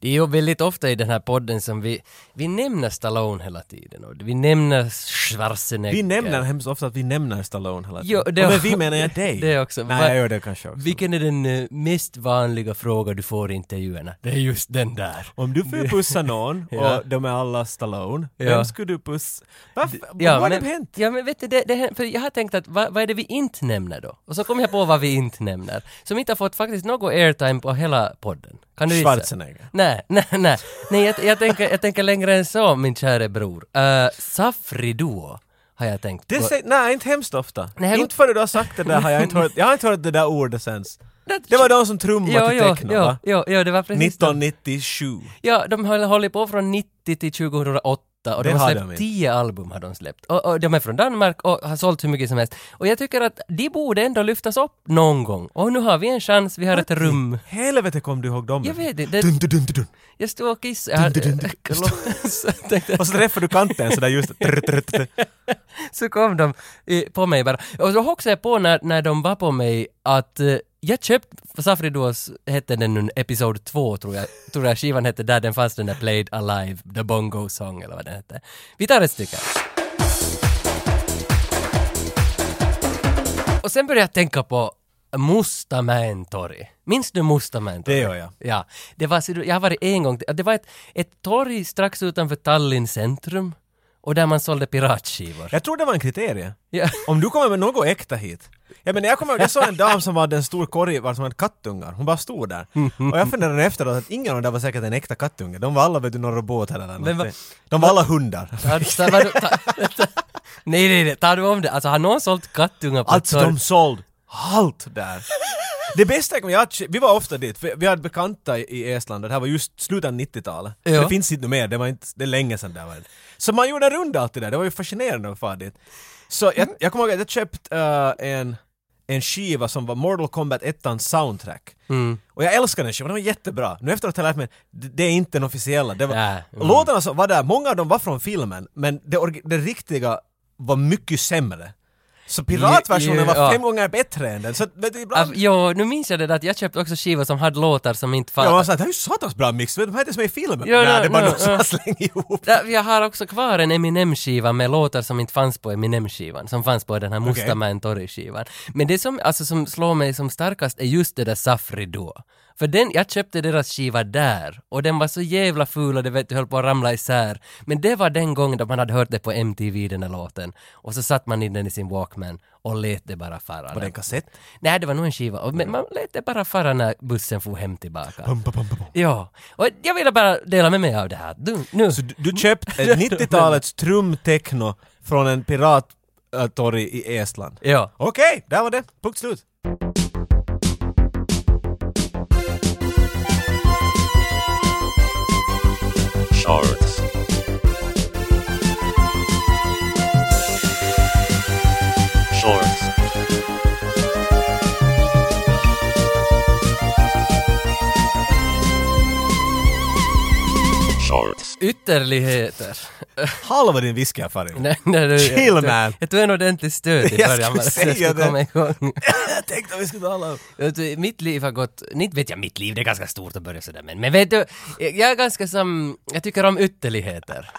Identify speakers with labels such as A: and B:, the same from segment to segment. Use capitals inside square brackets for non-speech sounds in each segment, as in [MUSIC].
A: Det är ju väldigt ofta i den här podden som vi, vi nämner Stallone hela tiden och vi nämner Schwarzenegger.
B: Vi nämner hemskt ofta att vi nämner Stallone hela tiden.
A: Jo, det-
B: och med vi menar jag
A: [LAUGHS]
B: dig.
A: Det också.
B: Nej,
A: Va-
B: jag gör det kanske också.
A: Vilken är den eh, mest vanliga fråga du får i intervjuerna? Det är just den där.
B: Om du
A: [LAUGHS]
B: får pussa någon
A: Ja.
B: och de är alla Stallone,
A: Ja.
B: vem skulle du pussa? Varför?
A: Ja,
B: Vad har
A: men,
B: hänt?
A: Ja men vet du, det, det, för jag har tänkt att vad, vad är det vi inte nämner då? Och så kom jag på vad vi inte nämner. Som inte har fått faktiskt någon airtime på hela podden. Kan du gissa?
B: Schwarzenegger.
A: Nej, [LAUGHS] nej, nej. nej jag, jag, tänker, jag tänker längre än så min käre bror. Uh, Safri Duo har jag tänkt.
B: Det
A: på.
B: säger, nej, inte hemskt ofta.
A: Nej, jag-
B: inte förrän du har sagt det där har jag inte hört, jag har inte hört det där ordet sen.
A: Det-
B: Det var de som trummade till
A: jo,
B: techno,
A: jo,
B: va?
A: jo, jo, det var precis de.
B: 1997.
A: Ja, de höll, håller på från 90 till 2008 och de
B: Det
A: har
B: har
A: släppt
B: de
A: 10 album har de släppt. Och, och de är från Danmark och har sålt hur mycket som helst. Och jag tycker att de borde ändå lyftas upp någon gång. Och nu har vi en chans, vi har ett rum.
B: Helvete kom du ihåg dem?
A: Jag vet inte, det,
B: Dun, dun, dun, dun, dun.
A: jag stod och kissade. [LAUGHS] Jag hade-
B: Dun, dun, dun, dun.
A: Så jag tänkte-
B: Och så träffar du kanten sådär just trr, trr, trr.
A: Så kom de eh, på mig bara. Och då hoxade jag på när, när de var på mig att eh, jag köpte, Safri Duos hette den nu, Episod 2 tror jag, tror jag skivan hette, där den fanns den där Played Alive, The Bongo Song eller vad den hette. Vi tar ett stycke. Och sen började jag tänka på Mustamäentori. Minns du Mustamäentori?
B: Det gör jag.
A: Ja, det var, så du- jag har varit en gång, det var ett, ett torg strax utanför Tallinn centrum och där man sålde piratskivor.
B: Jag tror det var en kriterie.
A: Ja.
B: Om du kommer med något äkta hit. Jag menar, jag kommer ihåg, jag såg en dam som hade en stor korg var som hade kattungar. Hon bara stod där. Och jag funderade efteråt att ingen av dem där var säkert en äkta kattunge. De var alla vet du några robotar eller
A: Men va-
B: någonting. De var alla hundar.
A: Ja, så var du- ta- nej, nej, nej, tar du om det? Alltså har någon sålt kattungar på
B: Alltså
A: torg?
B: de såld allt där. [LAUGHS] Det bästa kom jag vi var ofta dit, för vi hade bekanta i- i Estland och det här var just slutet av 90-talet.
A: Ja.
B: Det finns inte nu mer, det var inte, det är länge sedan det här var. Så man gjorde en runda alltid där, det var ju fascinerande att fara dit. Så jag, jag kommer ihåg att jag köpte eh, en, en skiva som var Mortal Kombat 1 soundtrack. Och jag älskar den skivan, den var jättebra. Nu efteråt har jag lärt mig, det, det är inte den officiella. Det var,
A: Nej, mm.
B: Låtarna som var där, många av dem var från filmen, men det, orgi- det riktiga var mycket sämre. Så
A: Ja,
B: piratversionen
A: ja,
B: var
A: ja.
B: fem gånger bättre än den. Så vet du,
A: Ah,
B: ibland...
A: jo, nu minns jag det där att jag köpte också skivor som hade låtar som inte
B: Jag var
A: fanns.
B: såhär, det här är ju satans bra mix, vet du, de här är inte som i filmen.
A: Ja, ja,
B: Nej, det var
A: ja,
B: någon som
A: ja.
B: har slängt ihop.
A: Där- Jag har också kvar en Eminem-skiva med låtar som inte fanns på Eminem-skivan, som fanns på den här Mustamäen Torg-skivan. Men det som, alltså, som slår mig som starkast är just det där Safri då. För den, jag köpte deras skiva där och den var så jävla ful och det vet, du, höll på att ramla isär. Men det var den gången då man hade hört det på MTV, den här låten. Och så satt man in den i sin Walkman och lät det bara fara.
B: Var det en kassett?
A: Nej, det var nog en skiva. Och men man lät det bara fara när bussen for hem tillbaka.
B: Pum, pum, pum, pum, pum.
A: Ja, och jag ville bara dela med mig av det här. Du, nu.
B: Så du, du
A: [LAUGHS]
B: köpte ett 90-talets trumtechno från en pirattorg i Estland.
A: Ja.
B: Okej, där var det. Punkt slut.
C: Shorts. Shorts. Shorts.
A: Ytterligheter.
B: Halva din whisky-affär.
A: Nej, nej, du,
B: Chill,
A: jag,
B: man.
A: Jag tog en ordentlig stöt i
B: Jag
A: början
B: skulle
A: bara, så jag
B: säga
A: skulle komma igång.
B: Jag tänkte att vi skulle tala om...
A: Vet du, mitt liv har gått, inte vet jag mitt liv, det är ganska stort att börja sådär men, men vet du, jag är ganska som, jag tycker om
B: [LAUGHS]
A: ytterligheter.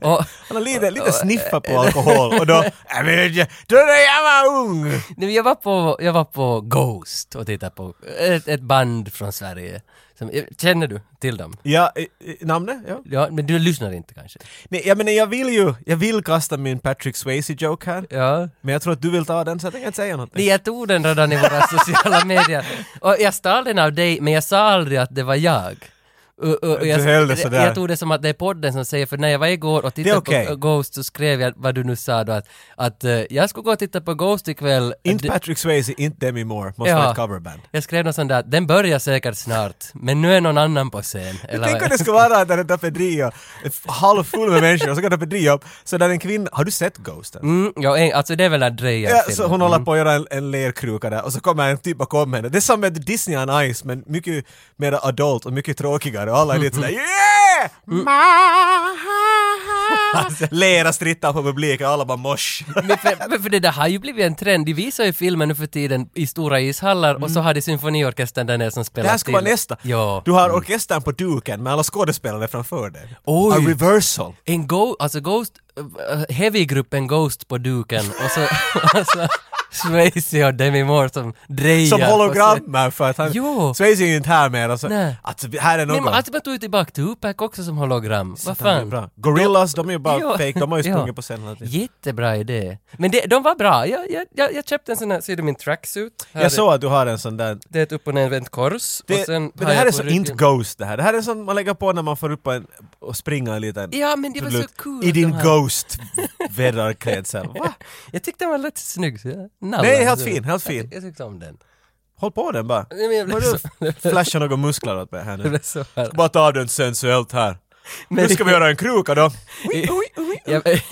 A: Och,
B: Han har lite, lite sniffa på alkohol och då... Jag vet inte, då när jag var ung!
A: nu, jag, var på, jag var på Ghost och tittade på ett, ett band från Sverige. Som, känner du till dem?
B: Ja, eh, eh, namnet? Ja.
A: Ja, men du lyssnar inte kanske?
B: Nej, jag menar jag vill ju, jag vill kasta min Patrick Swayze-joke här.
A: Ja.
B: Men jag tror att du vill ta den så jag tänker inte säga någonting.
A: Nej, jag tog den redan i våra
B: [LAUGHS]
A: sociala medier. Och jag stal den av dig, men jag sa aldrig att det var jag. Och, och, och jag,
B: Du höll det sådär.
A: jag tog det som att det är podden som säger, för när jag var igår och
B: Det
A: tittade
B: är okej.
A: på Ghost så skrev jag vad du nu sa då, att, att eh, jag skulle gå och titta på Ghost ikväll.
B: Inte
A: D-
B: Patrick Swayze, inte Demi Moore, måste
A: Ja.
B: vara ett coverband.
A: jag skrev något sånt där, den börjar säkert snart, men nu är någon annan på scen. Eller
B: Tänk om
A: vad-
B: det skulle vara att den där Pedrillo är halvfull med människor och så går den Pedrillo upp, så där är en kvinna, har du sett Ghosten?
A: Mm, ja, en- alltså det är väl den Mm. drejer
B: Ja, så hon håller på att göra en, en lerkruka där och så kommer en typ bakom henne. Det är som med Disney on Ice men mycket mer adult och mycket tråkigare. och alla är lite sådär
A: Mm.
B: yeah!
A: Alltså,
B: Lera strittar på publiken och alla bara mosh.
A: men, för, [LAUGHS] men för det där har ju blivit en trend. De visar ju filmen nu för tiden i stora ishallar och så har de symfoniorkestern där nere som spelar
B: Mm. Det här ska
A: till.
B: vara nästa.
A: Ja. Mm.
B: Du har orkestern på duken med alla skådespelare framför dig.
A: Oj.
B: A reversal.
A: En go, alltså Ghost, eh, heavy-gruppen Ghost på duken och så, [LAUGHS] alltså, Swayze och Demi Moore som drejar.
B: Som
A: på scen.
B: hologrammer för att han...
A: Jo.
B: Swayze är ju inte här mer. Alltså,
A: Nej.
B: att här är någon.
A: Nej men alltså man tog ju tillbaka till Tupac också som hologram. Vad
B: Det är
A: fan.
B: bra. Gorillas, de är ju bara
A: Jo.
B: fake. De har ju
A: Ja.
B: sprungit på scenen hela tiden.
A: Jättebra idé. Men det, de var bra. Jag, jag, jag, jag köpte en sån här, ser du min tracksuit? Här är-
B: Jag såg att du har en sån där...
A: Det är ett upp och nervänt kors. och
B: Det,
A: sen har
B: men det här
A: jag
B: är
A: på
B: så
A: ryggen-
B: inte Ghost det här. Det här är sånt man lägger på när man får upp en, och springa en liten...
A: Ja men det var så
B: trudelutt.
A: cool.
B: I
A: att de
B: din
A: här- [LAUGHS]
B: Ghost-väddarklädsel. Va?
A: Jag tyckte den var lite snygg. Så jag nallade
B: Nej, helt
A: så.
B: fin, helt fin.
A: Jag tyckte om den.
B: Håll på den bara.
A: Nej, men jag blev
B: Vad du
A: så- [LAUGHS] jag blev-
B: flashar några muskler åt mig här
A: Det
B: nu.
A: blev så här.
B: Bara ta av den sensuellt här.
A: Men-
B: nu ska vi göra en kruka då.
A: Jag- [LAUGHS]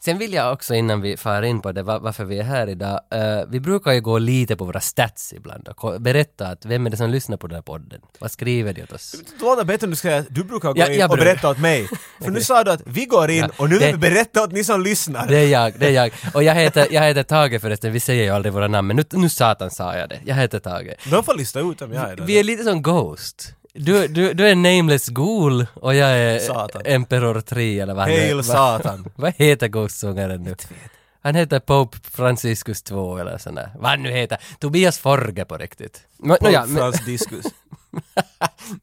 A: Sen vill jag också innan vi far in på det va- varför vi är här idag. eh, vi brukar ju gå lite på våra stats ibland och ko- berätta att vem är det som lyssnar på den här podden? Vad skriver de åt oss?
B: Det låter bättre om du ska du brukar gå
A: Ja,
B: in
A: jag
B: och
A: brukar.
B: berätta åt mig. För nu sa du att vi går in
A: Ja,
B: och nu
A: det-
B: berätta åt ni som lyssnar.
A: Det är jag, det är jag. Och jag heter, jag heter Tage förresten, vi säger ju aldrig våra namn men nu, nu satan sa jag det. Jag heter Tage.
B: De får lista ut om jag är
A: Vi
B: där.
A: är lite som Ghost. Du, du, du är Nameless Ghoul och jag är
B: Satan.
A: Emperor 3 eller vad han
B: Hail
A: vad- [LAUGHS]
B: Satan.
A: Vad heter Ghost-sångaren nu? Han heter Pope Franciscus 2 eller sån där. Vad han nu heter. Tobias Forge på riktigt. Men,
B: Pope
A: nåja, men,
B: Frans
A: [LAUGHS]
B: diskus.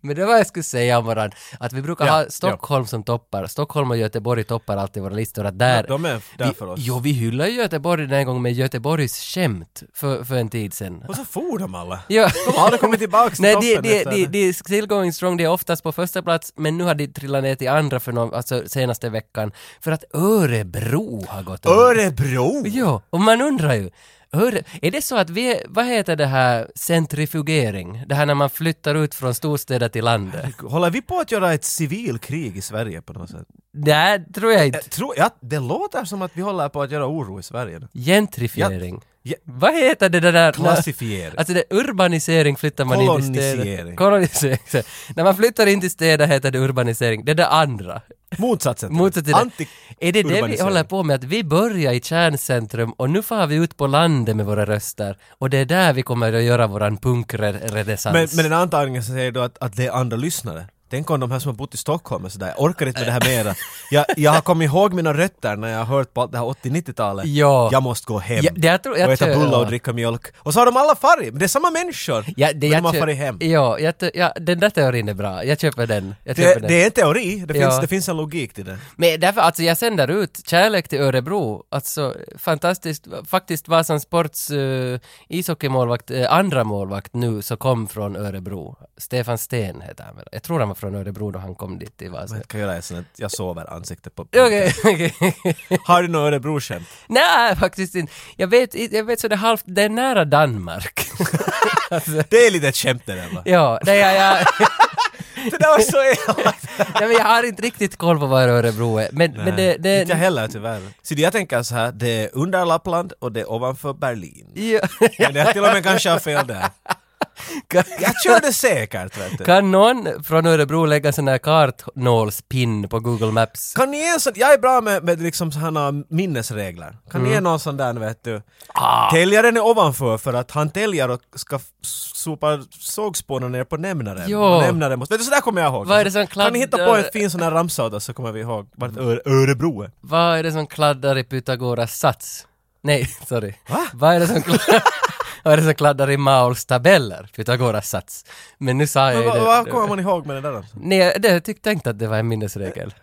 A: men det var jag skulle säga om varandra. Att vi brukar
B: Ja,
A: ha Stockholm som toppar. Stockholm och Göteborg toppar alltid våra listor. Att där,
B: De är där för oss.
A: vi, jo, vi hyllade Göteborg den här gången med Göteborgs skämt för, för en tid sedan.
B: Och så for de alla.
A: Ja.
B: De har aldrig kommit tillbaka till
A: Nej, det,
B: toppen liksom.
A: det,
B: efter
A: det,
B: det.
A: det är still going strong, det är oftast på första plats, men nu har det trillat ner till andra för någon, alltså senaste veckan, för att Örebro har gått upp.
B: Örebro!
A: Ja, och man undrar ju, Öre, är det så att vi, vad heter det här, centrifugering? Det här när man flyttar ut från storstäder till landet?
B: Håller vi på att göra ett civilkrig i Sverige på något sätt?
A: Nej, tror jag inte.
B: Jag tror, ja, det låter som att vi håller på att göra oro i Sverige nu.
A: Gentrifiering.
B: Ja,
A: Vad heter det där?
B: Klassifiering.
A: Alltså det är urbanisering flyttar man in till städer.
B: Kolonisering.
A: Kolonisering. [LAUGHS] så. När man flyttar in till städer heter det urbanisering. Det där andra.
B: Motsatsen. till
A: Motsatsen till
B: det. Anti-
A: det. Är det det vi
B: urbanisering.
A: håller på med? Att vi börjar i kärncentrum och nu far vi ut på landet med våra röster och det är där vi kommer att göra våran punkredesans.
B: Men, men den antagningen som säger då att, att det är andra lyssnare. Tänk om de här som har bott i Stockholm och sådär, jag orkar inte med det här mera. Jag, jag har kommit ihåg mina rötter när jag har hört på allt det här 80-90-talet.
A: Ja.
B: Jag måste gå hem
A: Ja, det jag tror- jag
B: och äta
A: tror-
B: bullar och
A: ja.
B: dricka mjölk. Och så har de alla farit, men det är samma människor.
A: Ja, det,
B: men
A: jag
B: de har
A: kö-
B: farit hem.
A: Ja, jag, tö- ja, den där teorin är bra. Jag köper den. Jag köper
B: Det,
A: den.
B: det är en teori, det,
A: Ja.
B: finns, det finns en logik till det.
A: Men därför, alltså jag sänder ut kärlek till Örebro. Alltså fantastiskt. Faktiskt Vasan Sports uh, ishockeymålvakt, eh, andra målvakt nu, så kom från Örebro. Stefan Sten heter han väl. Jag tror han var från Örebro då han kom dit till Vasa.
B: Man kan göra ett sånt att jag sover ansiktet på...
A: Okej, okej.
B: Har du något Örebro-skämt?
A: [LAUGHS] Nej, faktiskt inte. Jag vet, jag vet så det är halvt, det är nära
B: [LAUGHS]
A: Danmark. alltså,
B: Det är lite ett skämt det där va?
A: ja, nej, jag, jag,
B: [LAUGHS] Det där var så
A: [LAUGHS]
B: elakt!
A: nej, men jag har inte riktigt koll på vad Örebro är. Men, men det, det,
B: Inte jag heller tyvärr. Så jag tänker så här, det är under Lappland och det är ovanför Berlin.
A: Ja. [LAUGHS]
B: Men jag till och med kanske har fel där. Jag körde säkert vet du.
A: Kan någon från Örebro lägga sån här kartnålspinn på Google Maps?
B: Kan ni ge en sån, jag är bra med, med liksom sådana minnesregler. Kan
A: Mm.
B: ni ge någon sån där vet du?
A: Ah.
B: Täljaren är ovanför för att han täljer och ska f- sopa sågspånen ner på nämnaren.
A: Jo.
B: Och Nämnaren måste, vet du sådär kommer jag ihåg.
A: Vad är det som
B: Kan ni hitta på en
A: kladdar- Mm.
B: fin sån här ramsa åt oss så kommer vi ihåg vart Öre- Örebro är.
A: Vad är det som kladdar i Pythagoras sats? Nej, [LAUGHS] sorry.
B: Va?
A: Vad är det som kladdar, [LAUGHS] vad är det som kladdar i Mauls tabeller? Pythagoras sats. Men nu sa jag
B: Men
A: ju
B: vad,
A: det.
B: vad kommer man ihåg med det där då?
A: Nej, jag- det, jag tyckte inte att det var en minnesregel.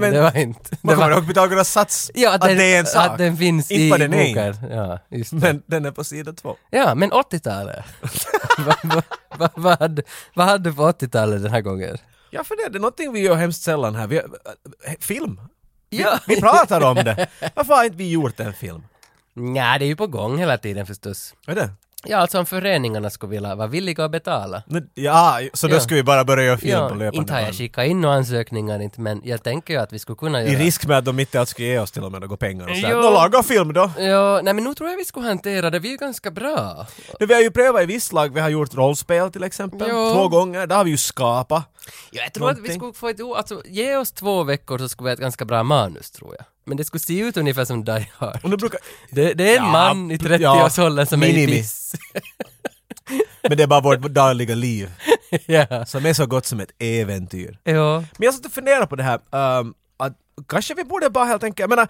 A: Men,
B: men,
A: det var inte.
B: man
A: Det
B: kommer
A: var,
B: ihåg Pythagoras sats,
A: ja,
B: att det är en sak.
A: Att den finns
B: Inte
A: i
B: vad den är.
A: boken. Ja, just det.
B: Men den är på sida två.
A: Ja, men [LAUGHS] 80-talet. vad, vad, vad, vad, hade- vad hade du på 80-talet den här gången?
B: Ja, för det, det är någonting vi gör hemskt sällan här. Vi, äh, äh, film.
A: Ja.
B: Vi pratar om det. Varför har inte vi gjort en film?
A: Nej, det är ju på gång hela tiden förstås.
B: Är det?
A: Ja, alltså om föreningarna skulle vilja vara villiga att betala.
B: Men- Ja, så då
A: Ja.
B: skulle vi bara börja göra film på
A: Ja,
B: löpande
A: inte har jag
B: band.
A: skickat in några ansökningar inte, men jag tänker ju att vi skulle kunna
B: I
A: göra...
B: risk med att de inte alls skulle ge oss till och med några pengar och sådär.
A: Jo.
B: Nå, laga film då!
A: Ja, nej men nu tror jag vi skulle hantera det, vi är ganska bra.
B: Nu, vi har ju prövat i visst lag, vi har gjort rollspel till exempel,
A: Jo.
B: två gånger, där har vi ju skapat.
A: Ja, jag tror att vi
B: Någonting.
A: skulle få ett, o- alltså ge oss två veckor så skulle vi ha ett ganska bra manus tror jag. Men det skulle se ut ungefär som Die Hard.
B: Och nu brukar...
A: Det, det är en
B: Ja,
A: man i
B: pl- ja,
A: 30-årsåldern som är i
B: minimi.
A: piss.
B: Men det är bara vårt dagliga liv, [LAUGHS]
A: ja.
B: som är så gott som ett äventyr.
A: ja.
B: Men jag satt och funderade på det här, ehm, att kanske vi borde bara helt enkelt, jag menar,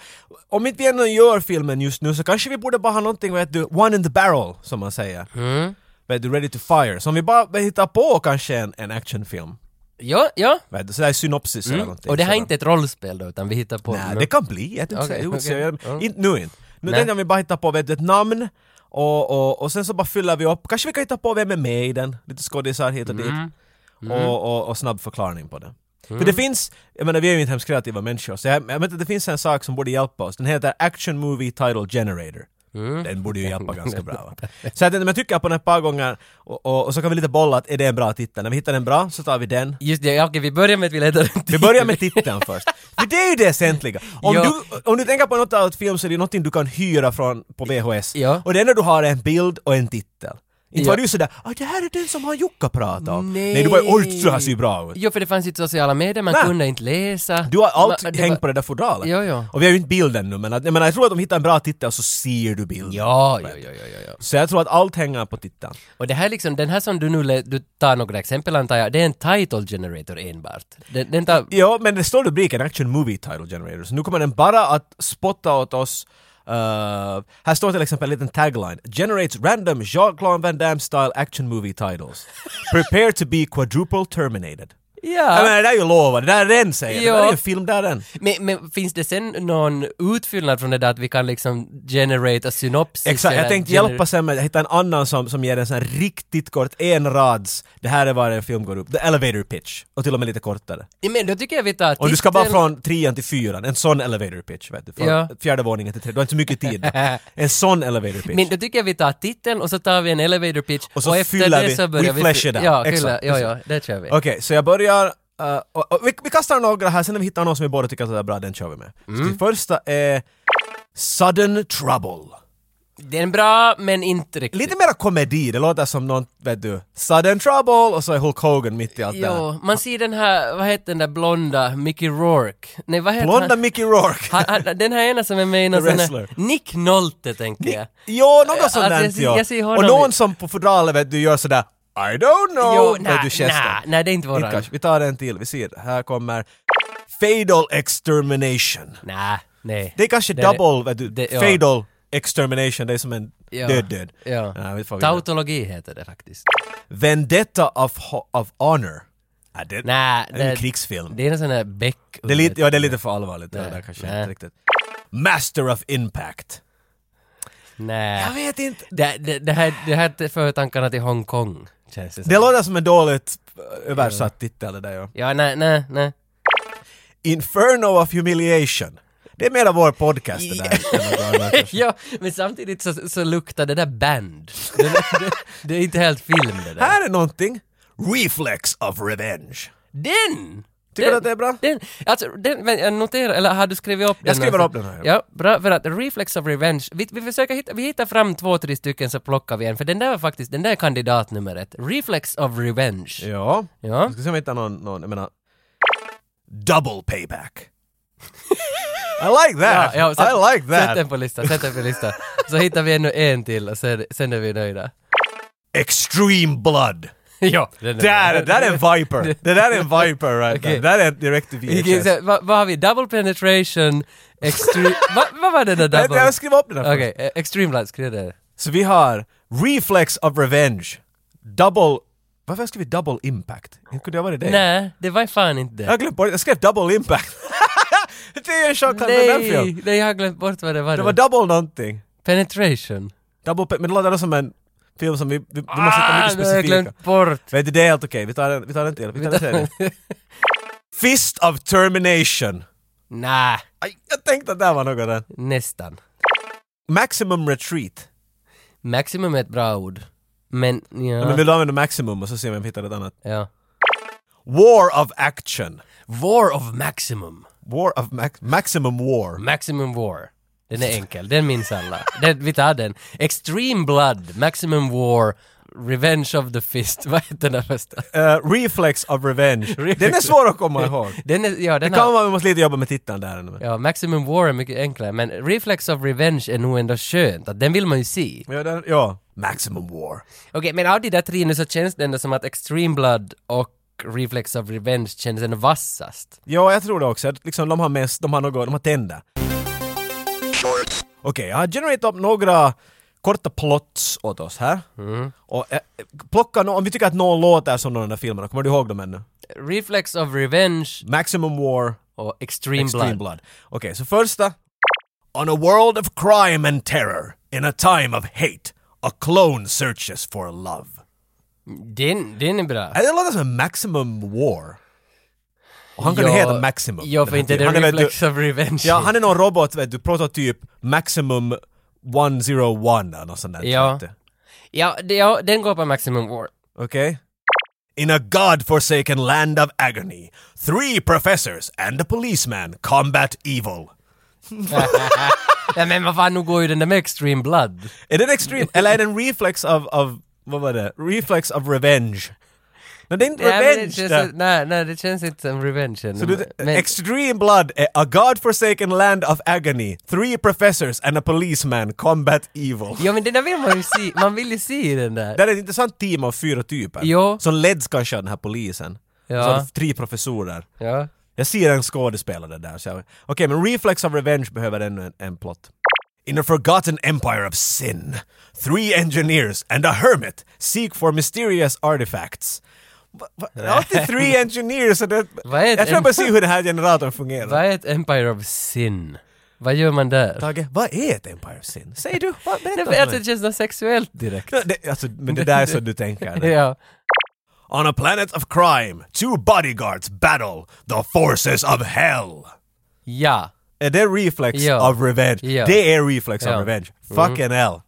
B: om inte vi ändå gör filmen just nu så kanske vi borde bara ha någonting, vet du, one in the barrel, som man säger.
A: Mm.
B: Vet du, ready to fire. Så om vi bara hittar på kanske en, en actionfilm,
A: Ja, ja.
B: vet du, sådär synopsis eller
A: Mm.
B: någonting.
A: Och det här är
B: sådär.
A: inte ett rollspel då, utan vi hittar på...
B: Nej,
A: nå-
B: det kan bli. Jag tänkte
A: Okej,
B: säga,
A: okej.
B: så jag-
A: Ja.
B: Inte nu inte. Nu
A: Nej.
B: tänkte jag vi bara hitta på vet, du, ett namn och, och, och sen så bara fyller vi upp. Kanske vi kan hitta på vem är med i den. Lite skådisar hit och
A: Mm.
B: dit. Och, och, och snabb förklaring på det. För det finns, jag menar vi är ju inte hemskt kreativa människor, så jag, jag menar, det finns en sak som borde hjälpa oss. Den heter Action Movie Title Generator.
A: Mm.
B: Den borde ju hjälpa ganska bra.
A: [LAUGHS]
B: Va? Så jag tänkte, men jag tycker på den ett par gånger och, och, och så kan vi lite bolla att är det en bra titel? När vi hittar den bra så tar vi den.
A: Just det, ja, okej, vi börjar med att vi letar
B: Vi börjar med titeln först. För det är ju det väsentliga. Om,
A: Ja.
B: du, om du tänker på något annat film så är det någonting du kan hyra från på VHS.
A: Ja.
B: Och det enda du har är en bild och en titel. Inte
A: Ja.
B: var du sådär ah, det här är den som han Jukka pratade om.
A: Nej.
B: Nej, du var ju oj, det här ser ju bra ut.
A: [LAUGHS] Jo, för det fanns inte sociala medier, man
B: Nej.
A: kunde inte läsa.
B: Du har allt
A: Ma- det
B: hängt
A: var-
B: på det där fodralet.
A: Ja, ja.
B: Och vi har ju inte bilden nu men att, jag menar jag tror att de hittar en bra titel så ser du bilden.
A: Ja, ja, ja, ja, ja, ja.
B: Så jag tror att allt hänger på titeln.
A: Och det här liksom, den här som du nu lä- du tar några exempel antar jag, det är en title generator enbart. Den, den tar...
B: Ja, men det står rubriken Action Movie Title Generator, så nu kommer den bara att spotta åt oss eh, här står till exempel en liten tagline. Generates random Jean-Claude Van Damme style action movie
A: [LAUGHS]
B: titles. Prepare to be quadruple terminated. Jag
A: Ja.
B: menar, det där är ju lovande, det där är den säger.
A: Ja.
B: Det där är ju en film där den.
A: Men, men finns det sen någon utfyllnad från det där att vi kan liksom generera synopsis?
B: Exakt, jag
A: eller
B: tänkte
A: gener-
B: hjälpa sen med att hitta en annan som, som ger en sån här riktigt kort, en rads. Det här är vad en film går upp. The Elevator Pitch. Och till och med lite kortare.
A: Ja, Men då tycker jag vi tar
B: Och du ska bara
A: titel-
B: från trean till fyran, en sån elevator pitch vet du. Från
A: Ja.
B: fjärde våningen till tredje, du har inte så mycket tid.
A: [LAUGHS]
B: då. en sån elevator pitch.
A: Men då tycker jag vi tar titeln och så tar vi en elevator pitch
B: Och så fyller vi- we flesh it out.
A: Ja,
B: Exakt,
A: fylla, ja,
B: precis.
A: ja, det kör vi.
B: Okej, så jag börjar... eh, och, och, vi, vi kastar några här, sen när vi hittar någon som vi båda tycker att det är bra, den kör vi med. Så det första är Sudden Trouble.
A: Det är en bra, men inte riktigt.
B: Lite mera komedi, det låter som någon, vet du, Sudden Trouble och så är Hulk Hogan mitt i allt det här.
A: Jo, man ser den här, vad heter den där blonda Mickey Rourke? Nej, vad heter
B: Blonda
A: han?
B: Mickey Rourke.
A: Han, han, den här ena som är med i någon
B: The
A: sån här,
B: wrestler.
A: Nick Nolte tänker jag.
B: [LAUGHS] Jo, något sånt
A: Alltså, jag
B: där.
A: ser- jag ser
B: ja.
A: honom
B: Och
A: i-
B: någon som på fodralet vet du gör sådär I don't know,
A: Jo,
B: vet
A: nej,
B: du gesten.
A: nej, nej, det är inte
B: Inte
A: våran.
B: kanske. Vi tar en till, vi ser. Här kommer Fatal Extermination.
A: Nej, nej.
B: Det är kanske
A: Det är det.
B: double, vet du,
A: Det- ja.
B: Fatal Extermination, det är som en
A: Ja.
B: död-död.
A: Ja.
B: Nej, vet fan vad vi
A: Tautologi heter det faktiskt.
B: Vendetta of, ho- of Honor. Ja, det,
A: Nej,
B: det är en krigsfilm. Det,
A: Det är en sån här Beck...
B: är lite, ja, det är lite för allvarligt. Det
A: Nej,
B: där kanske
A: nej.
B: inte riktigt. Master of Impact.
A: Nej.
B: Jag vet inte.
A: Det, det, det, här, det här för tankarna till Hongkong, känns det som.
B: Det låter som en dåligt eh, översatt titel det där ja.
A: Ja, nej, nej, nej.
B: Inferno of Humiliation. Det är mera vår podcast det där.
A: [LAUGHS] [LAUGHS] ja, men samtidigt så, så luktar det där band. Det, det, det är inte helt film det där.
B: Här är någonting. Reflex of Revenge.
A: [LAUGHS] Den! den,
B: Tycker du att det är bra?
A: Den, alltså, den, men jag noterar, eller har du skrivit upp den?
B: Jag skriver upp
A: någonstans?
B: den här.
A: Ja, bra, för att Reflex of Revenge, vi, vi försöker hitta, vi hittar fram två, tre stycken så plockar vi en, för den där var faktiskt, den där är kandidat nummer ett. Reflex of Revenge. Ja.
B: Ja. Jag ska se om jag hittar någon, någon, jag menar... Double payback.
A: [LAUGHS]
B: I like that!
A: Ja, ja, sätt-
B: I like
A: Sätt
B: that!
A: den på listan, sätt den på listan. Så hittar vi ännu en till och sen, sen är vi
B: [LAUGHS]
A: nöjda.
B: Extreme blood!
A: ja, den
B: Där, det där är en viper!
A: [LAUGHS]
B: Det där är en viper right
A: Okej.
B: there. Det där är en direct to VHS.
A: Vad vad har vi? Double penetration,
B: [LAUGHS]
A: extreme... Va- Vad var det där
B: Jag,
A: double?
B: jag skrev upp den här
A: Okej, eh, extreme light, skriv det.
B: Så vi har Reflex of Revenge, Double... Varför skrev vi Double Impact? Inte kunde jag varit det?
A: Nej, det var fan inte det.
B: Jag glömde bort, jag skrev Double Impact. [LAUGHS] det är ju en Jean-Claude Van Damme
A: Nej,
B: film.
A: nej, jag har glömt bort vad det var.
B: Det var double någonting.
A: Penetration.
B: Double, pe- men det låter som en film som vi, vi, vi måste hitta mycket
A: det Ah, har jag
B: specifika.
A: glömt bort.
B: Vet du, det är helt okej. Vi tar en, vi tar en till. Vi tar
A: [LAUGHS]
B: en tredje. Fist of Termination.
A: Nej,
B: Aj, jag tänkte att det här var något där.
A: nästan.
B: Maximum Retreat.
A: Maximum är ett bra ord. Men, ja.
B: Ja, Men vill du använda maximum och så ser vi om vi hittar ett annat?
A: ja.
B: War of action.
A: War of maximum.
B: War of max- maximum war.
A: Maximum war. Den är enkel, den minns
B: [LAUGHS]
A: alla. Den, vi tar den. Extreme blood, maximum war, revenge of the fist. [LAUGHS] Vad heter den där första?
B: Eh, reflex of revenge. Den
A: [LAUGHS]
B: är
A: Reflex-
B: svår att komma ihåg.
A: Den är, [LAUGHS] ja, den
B: Det kan
A: har,
B: vara, vi måste lite jobba med titeln där. ändå.
A: ja, maximum war är mycket enklare, men reflex of revenge är nog ändå skönt, att den vill man ju se.
B: Ja, den, ja. Maximum war.
A: Okej, men av de där tre nu så känns det ändå som att extreme blood och reflex of revenge känns ändå vassast.
B: Ja, jag tror det också. Att Liksom, de har mest, de har något, de har tänder.
C: shorts,
B: Okej, jag har genererat upp några korta plots åt oss här.
A: Mm.
B: Och eh, plocka nå- om vi tycker att någon låter som någon av de där filmerna, kommer du ihåg dem ännu?
A: Reflex of revenge
B: Maximum War,
A: och extreme,
B: Extreme
A: blood.
B: Blood. Okej, så första. On a world of crime and terror, in a time of hate, a clone searches for love.
A: Den, den är bra.
B: Äh, Det låter som en Maximum War. Och han kunde
A: Ja,
B: heta Maximum.
A: Ja, för
B: den här
A: inte det
B: filmen. Han är, vet
A: reflex
B: du,
A: of revenge.
B: Ja, han är någon robot, vet du, prototyp Maximum 101 eller något sånt där.
A: Ja.
B: vet du.
A: Ja, det, ja, den går på Maximum War.
B: Okay. In a godforsaken land of agony, three professors and a policeman combat evil.
A: ja, men vad fan, nu går ju den där med Extreme Blood.
B: Är den extrem? Eller är den reflex of, of vad var det? Reflex of revenge. Men det är inte
A: Nej, men
B: revenge!
A: det
B: där.
A: känns, nej, nej, det känns inte som revenge.
B: Så
A: ännu,
B: du,
A: men,
B: extreme blood, är a godforsaken land of agony, three professors and a policeman combat evil.
A: ja, men den där vill man ju se. Man vill ju se den där.
B: Det här är ett intressant team av fyra typer.
A: Jo.
B: Som leds kanske av den här polisen.
A: Ja.
B: Så har du tre professorer.
A: Ja.
B: Jag ser en skådespelare där. så jag- Okej, men Reflex of Revenge behöver ännu en, en plot. In a forgotten empire of sin, three engineers and a hermit seek for mysterious artifacts. Va-
A: [LAUGHS]
B: va- det är Alltid three engineers och det...
A: Vad är ett
B: Jag tror jag
A: em-
B: bara se hur den här generatorn fungerar.
A: Vad är ett Empire of Sin? Vad gör man där?
B: Tage, vad är ett empire of sin? Säg du, vad,
A: Det,
B: berätta
A: är att
B: för mig.
A: det känns något sexuellt direkt.
B: Ja, det, alltså, men det där är så du tänker.
A: [LAUGHS] Ja.
B: On a planet of crime, two bodyguards battle the forces of hell.
A: Ja.
B: Är det reflex
A: Ja.
B: of revenge?
A: Ja.
B: Det är reflex
A: Ja. Mm.
B: of revenge. Fucking hell.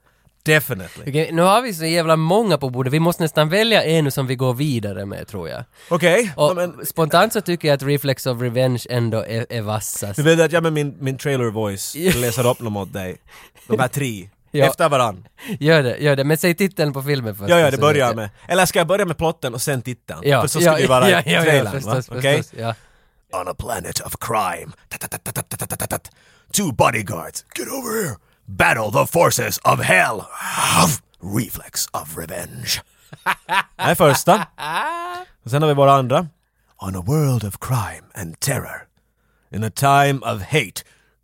B: Definitely.
A: Okej, nu har vi så jävla många på bordet. Vi måste nästan välja en som vi går vidare med, tror jag.
B: Okej,
A: Och
B: ja, men
A: spontant så tycker jag att Reflex of Revenge ändå är, är vassast.
B: du vet att jag med min, min trailer
A: [LAUGHS]
B: voice
A: Ja.
B: läser upp dem åt dig. De här tre.
A: Ja.
B: Efter varann.
A: Gör det, gör det. Men säg titeln på filmen först.
B: Ja, ja, det
A: så
B: börjar
A: vet
B: jag
A: jag.
B: med. Eller ska jag börja med plotten och sen titeln?
A: Ja,
B: För så
A: ja,
B: ska det ju
A: [LAUGHS]
B: vara
A: ja,
B: i
A: ja, ja,
B: trailern, va?
A: förstås,
B: Okej?
A: förstås, ja. [LAUGHS]
B: On a planet of crime. Ta-ta-ta-ta-ta-ta-ta-ta. Two bodyguards. Get over here. Battle the forces of hell. Reflex of revenge. [LAUGHS] Det är första. Och sen har vi våra andra. On a world of crime and terror. In a time of hate.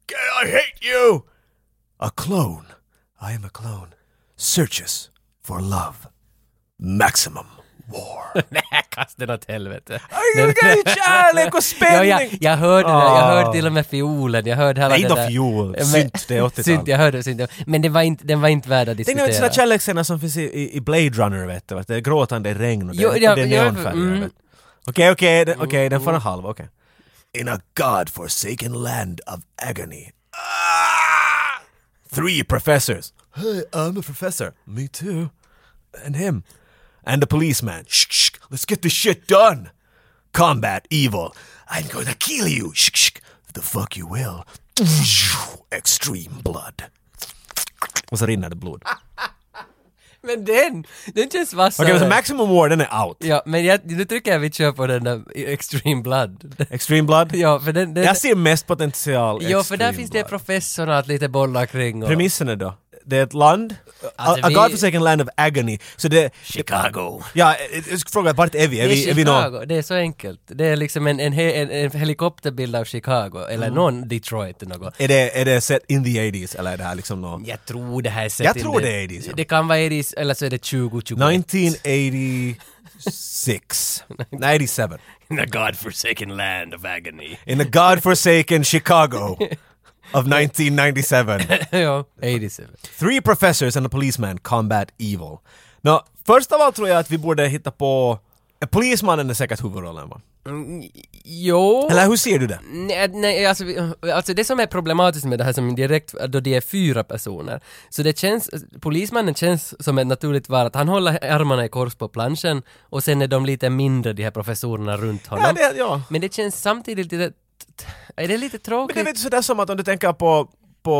B: God, I hate you! A clone. I am a clone. Searches for love. Maximum [LAUGHS] war.
A: Nej, kasta den åt helvete.
B: Jag kan ju [LAUGHS] kärlek och
A: Ja,
B: spänning!
A: jag, jag hörde det, jag
B: Ah.
A: hörde till och med fiolen, jag hörde hela
B: Nej,
A: det
B: inte
A: där.
B: fiol.
A: Men-
B: Synt, det är
A: [LAUGHS]
B: 80-tal.
A: Synt, jag hörde synt. Men det var inte, den var inte värd att
B: Tänk dig
A: diskutera.
B: sådana kärleksscener som finns i, i, i Blade Runner vet du, va? det är gråtande regn och det,
A: Jo, ja,
B: och det är
A: ja,
B: neonfärger.
A: mm.
B: vet du. Okej, okej, den- okej, den får en halv, okej. In a god-forsaken land of agony. Ah! Three professors. Hey, I'm a professor. Me too. And him. And the policeman. Shh, shh, let's get this shit done. Combat evil. I'm gonna kill you. Shh, shh. The fuck you will. Extreme blood. Och så rinner det blod.
A: Men den, den känns vassare.
B: Okej, så Maximum War, den är out.
A: Ja, men jag, nu tycker jag vi kör på den där Extreme Blood. [LAUGHS]
B: Extreme Blood?
A: Ja, för den... den
B: Jag ser mest potential i
A: ja, för där
B: Extreme
A: finns det
B: Blood.
A: professorn att lite bolla kring och...
B: Premisserna då? Det är ett land,
A: Alltså,
B: a, a
A: vi-
B: godforsaken land of agony. Så det... Chicago. Ja, jag- jag ska fråga, vart är vi? Är
A: Det är
B: vi, är vi
A: Chicago,
B: någon?
A: det är så enkelt. Det är liksom en, en, he- en, en helikopterbild av Chicago, eller
B: Mm.
A: någon Detroit eller något.
B: Är det, är det set in the 80s eller är det här liksom någon...
A: Jag tror det här är sett
B: Jag
A: in
B: tror det är 80s, ja.
A: Det kan vara 80s, eller så är det 2021.
B: 1986. 97.
A: In the godforsaken land of agony.
B: In the godforsaken Chicago of 1997.
A: [LAUGHS] ja, 87.
B: Three professors and a policeman combat evil. Nå, först av allt tror jag att vi borde hitta på... Polismannen är säkert huvudrollen va?
A: Mm, jo...
B: Eller hur ser du det?
A: Nej, nej alltså, vi- alltså det som är problematiskt med det här som direkt, då de är fyra personer, så det känns, polismannen känns som ett naturligt val att han håller armarna i kors på planschen och sen är de lite mindre de här professorerna runt honom.
B: Ja, det, ja.
A: Men det känns samtidigt lite, är det lite
B: Men
A: tråkigt?
B: det är lite sådär som att om du tänker på, på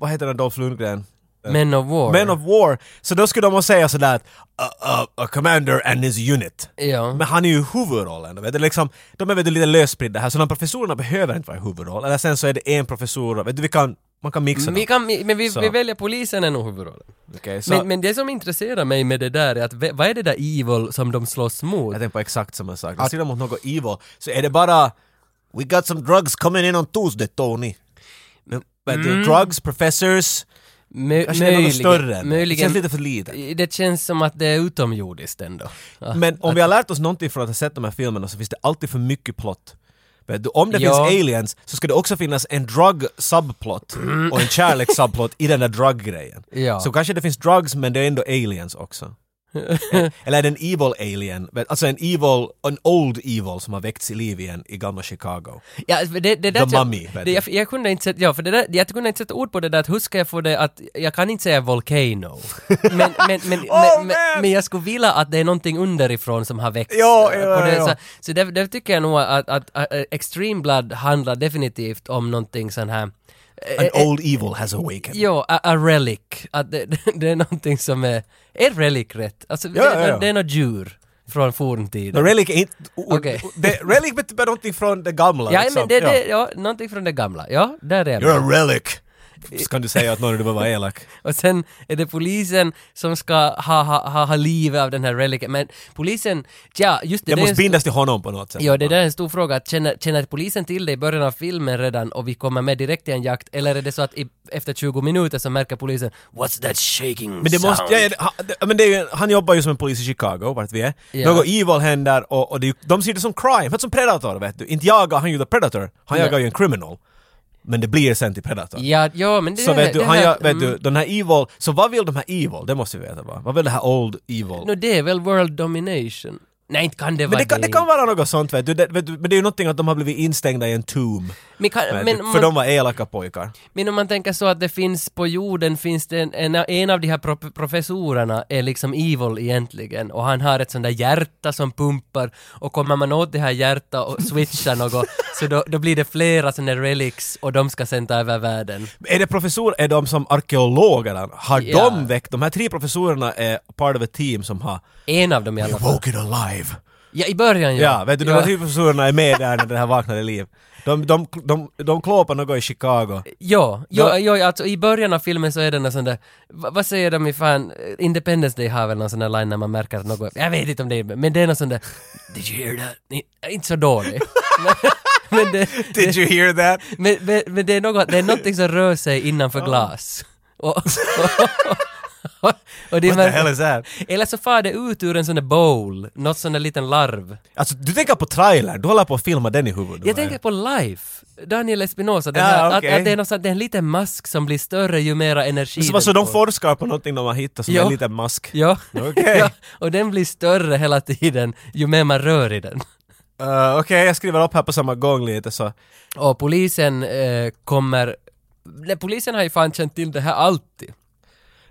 B: vad heter den Dolph Lundgren?
A: Men of War.
B: Men of War, så då skulle de ha säga sådär att "A- a- a commander and his unit.
A: Ja.
B: Men han är ju huvudrollen, vet du, liksom, de är vet du, lite lösspridda här, så de professorerna behöver inte vara huvudroll. Eller sen så är det en professor, och- vet du, vi kan, man kan mixa
A: Mm, Vi
B: dem.
A: kan, men vi,
B: Så.
A: vi väljer polisen är nog huvudrollen.
B: Okej, så
A: Men, men det som intresserar mig med det där är att ve- vad är det där evil som de slåss mot?
B: Jag tänker på exakt samma sak. När de mot något evil, så är det bara “We got some drugs coming in on Tuesday, Tony”. Vet du, drugs, professors,
A: Mö-
B: jag känner något större. än det. Det
A: möjligen.
B: känns lite för litet.
A: Det känns som att det är utomjordiskt ändå. Ja.
B: Men om vi har lärt oss någonting från att ha sett de här filmerna så finns det alltid för mycket plott. Vet du, om det
A: Ja.
B: finns aliens så ska det också finnas en drug subplot och en kärleks subplot i den där druggrejen.
A: Ja.
B: Så kanske det finns drugs men det är ändå
A: [LAUGHS]
B: aliens också. Eller är det en evil alien? Vet- Alltså en evil, en old evil som har väckts i liv igen i gamla Chicago.
A: Ja, för det, det där
B: The
A: jag-
B: Mummy, vet
A: det,
B: du.
A: jag, jag kunde inte sätta, ja, för det där, jag kunde inte sätta ord på det där att hur ska jag få det att, jag kan inte säga [LAUGHS] volcano. Men, men, men, men, men,
B: man!
A: men jag skulle vilja att det är någonting underifrån som har växt.
B: Ja, ja,
A: eh, på det,
B: ja.
A: Så, så det, det tycker jag nog att, att, att eh, Extreme Blood handlar definitivt om någonting sån här eh,
B: An
A: eh,
B: old evil has awakened.
A: Ja, a, a relic. Att det, [LAUGHS] det är någonting som är... Är relic rätt? Alltså,
B: Ja,
A: det,
B: ja, ja.
A: det är något djur från forntiden.
B: No, relic är inte...
A: Okej.
B: Det, relic betyder någonting från det gamla.
A: ja,
B: liksom.
A: men det,
B: Ja.
A: det, ja, någonting från det gamla. Ja, där är jag.
B: You're
A: med.
B: a relic! Så kan du säga att någon du behöver vara elak.
A: Och sen är det polisen som ska ha, ha, ha, ha livet av den här relicen. Men polisen, ja, just det.
B: Jag
A: det är
B: måste
A: en stor-
B: bindas till honom på något sätt.
A: Ja, det där är en stor fråga. Att Känner, känner polisen till det i början av filmen redan och vi kommer med direkt i en jakt? Eller är det så att i, efter 20 minuter så märker polisen “What's that shaking
B: Men det måste,
A: sound?”
B: ja, ja, det- han, det- men det är ju, en- han jobbar ju som en polis i Chicago, vart vi är.
A: Ja.
B: Något evil händer och, och det, är ju- de ser det som crime, för som predator vet du. Inte jagar han ju the predator, han
A: Ja.
B: jagar ju en criminal. Men det blir sen till predator.
A: Ja, ja, men det
B: Så vet du,
A: det
B: han
A: här-
B: gör, vet
A: mm.
B: du, den här evil, så vad vill de här evil? Det måste vi veta va? Vad vill det här old evil?
A: No, det är väl world domination? Nej, inte kan det
B: men
A: vara
B: det kan, det kan vara något sånt vet du. Det, vet du, men det är ju någonting att de har blivit instängda i en tomb.
A: Men, kan,
B: vet
A: men,
B: du,
A: om
B: för
A: man,
B: de var elaka pojkar.
A: men om man tänker så att det finns på jorden, finns det en, en, en av de här pro, professorerna är liksom evil egentligen och han har ett sånt där hjärta som pumpar och kommer man åt det här hjärtat och
B: [LAUGHS]
A: switchar något så då, då blir det flera såna där relics och de ska sen ta över världen.
B: Är det professorer, är de som arkeologer? Har
A: Ja.
B: de väckt, de här tre professorerna är part of a team som har
A: En av dem i alla fall.
B: Woken alive!
A: Ja, i början ja.
B: Ja, vet du, typ de här huvudpersonerna är med där när det här vaknade liv. De, de, de, de klåpar något i Chicago.
A: Ja, ja, ja, alltså i början av filmen så är det någon sån där, va, vad säger de i fan, Independence Day har väl någon sån där line när man märker att något, jag vet inte om det är, men det är någon sån där, did you hear that? Ni- Inte så dålig. men, [LAUGHS] men, det,
B: Did you hear that?
A: men, men, men det är något, det är någonting som rör sig innanför glas. [LAUGHS] Och, och, och, och det
B: What the
A: märker-
B: hell is that?
A: Eller så far det ut ur en sån där bowl, något sån där liten larv.
B: Alltså, du tänker på trailer, du håller på att filma den i huvudet.
A: Jag tänker på Life, Daniel Espinosa, den
B: Ja,
A: här,
B: okej.
A: att, att det är något sånt, det är en liten mask som blir större ju mera energi
B: så, så
A: den
B: de forskar på någonting de har hittat som
A: Ja.
B: är en liten mask.
A: [LAUGHS] Ja.
B: Okej.
A: ja. Och den blir större hela tiden ju mer man rör i den.
B: Uh, Okej, jag skriver upp här på samma gång lite så.
A: Och polisen eh, kommer... Nej, polisen har ju fan känt till det här alltid.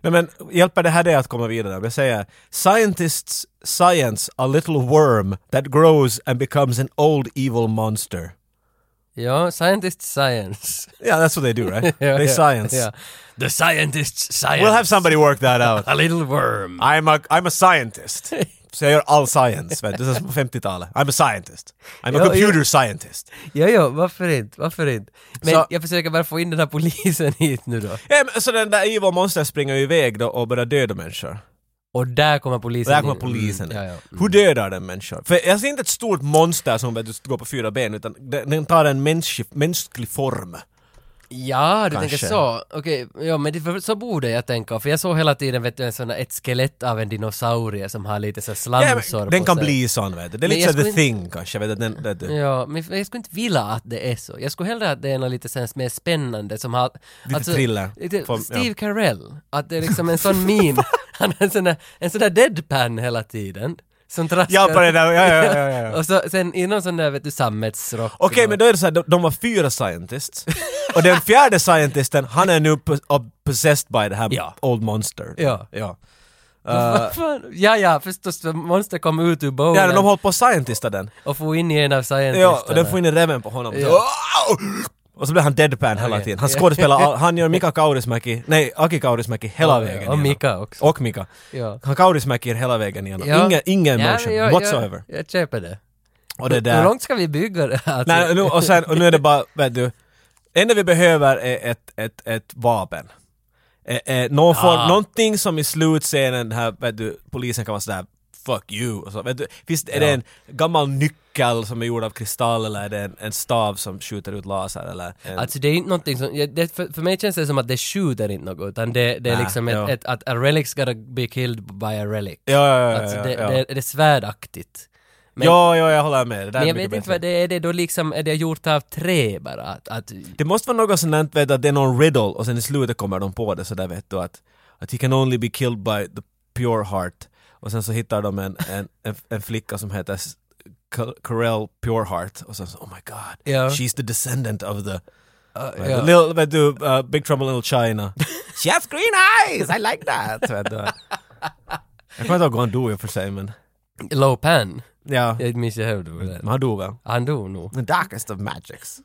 B: Nej men, hjälper det här dig att komma vidare? Jag säger “Scientists science a little worm that grows and becomes an old evil monster”.
A: Ja, scientist science. [LAUGHS]
B: Yeah, that's what they do right?
A: Ja,
B: they
A: ja,
B: science.
A: ja. The scientist science.
B: We'll have somebody work that
A: [LAUGHS]
B: out.
A: A little worm.
B: I'm a, I'm a scientist. Så jag gör all science, vet du. Det är som på 50-talet. I'm a scientist. I'm a
A: Ja,
B: computer scientist.
A: Ja, ja, varför inte? Varför inte? Men
B: Så-
A: jag försöker bara få in den här polisen [LAUGHS] hit nu då.
B: Ja, men, så den där evil monster springer ju iväg då och börjar döda människor.
A: Och där kommer polisen
B: Och där kommer
A: in.
B: polisen.
A: Mm, ja, ja.
B: Hur dödar den människor? För jag ser inte ett stort monster som vet, du går på fyra ben, utan den, den tar en mänsklig, mänsklig form.
A: Ja, du
B: Kanske.
A: tänker så. Okej, ja men det, för- så borde jag tänka. För jag såg hela tiden vet du, en sån, här- ett skelett av en dinosaurie som har lite så här
B: Ja,
A: slamsor
B: men, den
A: på
B: kan
A: sig.
B: bli sån, vet du. Det är
A: Men
B: lite
A: jag
B: så the
A: skulle
B: thing kanske, vet du. Den, vet du.
A: Ja, men jag skulle inte vilja att det är så. Jag skulle hellre att det är något lite sånt mer spännande som har... alltså,
B: Lite thriller.
A: lite
B: Form, ja.
A: Steve
B: [LAUGHS]
A: Carell. Att det är liksom en sån min. Han har en sån där, en sån där deadpan hela tiden. som traskar.
B: Ja, på det där, ja, ja, ja, ja,
A: [LAUGHS]
B: ja.
A: och så, sen i någon sån där vet du sammetsrock.
B: Okej, men då är det så här, de, de var
A: [LAUGHS]
B: fyra scientists. och den fjärde scientisten, han är nu po- ob- possessed by det här
A: Ja.
B: old monster.
A: Ja.
B: ja.
A: Vad fan? ja, ja, förstås. för Monster kom ut ur
B: Där har de
A: bowlen
B: hållit på att scientista den.
A: och for in i en av
B: Ja, och
A: scientisterna.
B: den får in i reven på honom.
A: Ja.
B: Så, och så blir han deadpan hela
A: Okej.
B: tiden.
A: [LAUGHS]
B: Han skådespelar, all- han gör Mika Kaurismäki, nej Aki Kaurismäki hela
A: Ja,
B: vägen
A: Och
B: igenom.
A: Mika också.
B: Och Mika.
A: Ja.
B: Han Kaurismäki hela vägen igenom.
A: Ja.
B: Ingen, ingen
A: Ja,
B: emotion
A: jag- jag-
B: whatsoever.
A: Jag, köper det.
B: Och det
A: Hur
B: där.
A: långt ska vi bygga det här? Alltså,
B: Nej, nu, och, sen, och nu är det bara, vet du. enda vi behöver är ett, ett, ett vapen. Eh, eh, någon form,
A: Ah.
B: någonting som i slutscenen, den här, vet du, polisen kan vara sådär Fuck you! Och så, vet du, visst är det
A: Ja.
B: en gammal nyckel som är gjord av kristall eller är det en, en stav som skjuter ut laser eller? En,
A: Alltså det är inte någonting som, ja, det, för, för mig känns det som att det skjuter inte något utan det, det är
B: Nä,
A: liksom
B: ja.
A: ett, ett, att a relic's gotta be killed by a relic.
B: ja, ja, ja,
A: alltså
B: ja,
A: det,
B: ja.
A: Det, det är svärdaktigt. Men,
B: ja, ja, jag håller med. Det där
A: men
B: är
A: jag
B: mycket
A: vet inte
B: bättre.
A: vad det är, det är då liksom, är det gjort av trä bara? Att, att,
B: Det måste vara något sånt där, vet du, att det är någon riddle och sen i slutet kommer de på det sådär vet du att, att he can only be killed by the pure heart. Och sen så hittar de en, en, en, en flicka som heter S- Ka- Karel Pureheart och sen så oh my god,
A: Ja.
B: she's the descendant of the,
A: äh,
B: vet
A: ja.
B: du, little, vet du, uh, Big Trouble in Little China. [LAUGHS] She has green eyes, I like that! Vet du. Jag kommer inte ihåg hur han dog i och för sig men,
A: Low pan.
B: ja,
A: Jag minns jag hur det var.
B: men han dog väl.
A: Han dog nog. [LAUGHS]
B: The darkest of magics.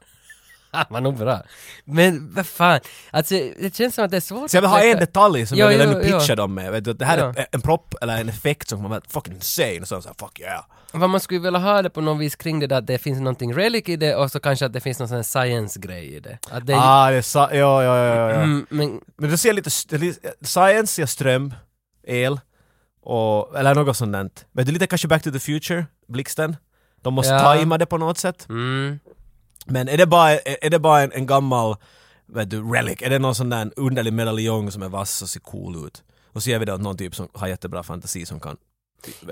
A: Han var nog bra. Men vad fan, alltså det känns som att det är svårt
B: Så jag vill ha
A: att
B: en
A: veta-
B: detalj som
A: Ja,
B: jag vill
A: ja,
B: ännu pitcha
A: ja.
B: dem med. Vet du, att det här
A: Ja.
B: är en propp eller en effekt som kommer att fucking insane. Och så är de så här, fuck yeah.
A: Vad man skulle vilja ha det på någon vis kring det där att det finns någonting relic i det och så kanske att det finns någon sån här science-grej i det. Att det
B: Ah, det är sa- ja, ja, ja, ja, ja.
A: mm, men,
B: Men du ser lite, st- li- science ser ström, el, och, eller något sånt där. Men det är lite kanske Back to the Future, blixten. De måste
A: Ja.
B: tajma det på något sätt.
A: mm.
B: Men är det bara, är är det bara en, en gammal, vet du, relic? Är det någon sån där underlig medaljong som är vass och ser cool ut? Och så gör vi det åt någon typ som har jättebra fantasi som kan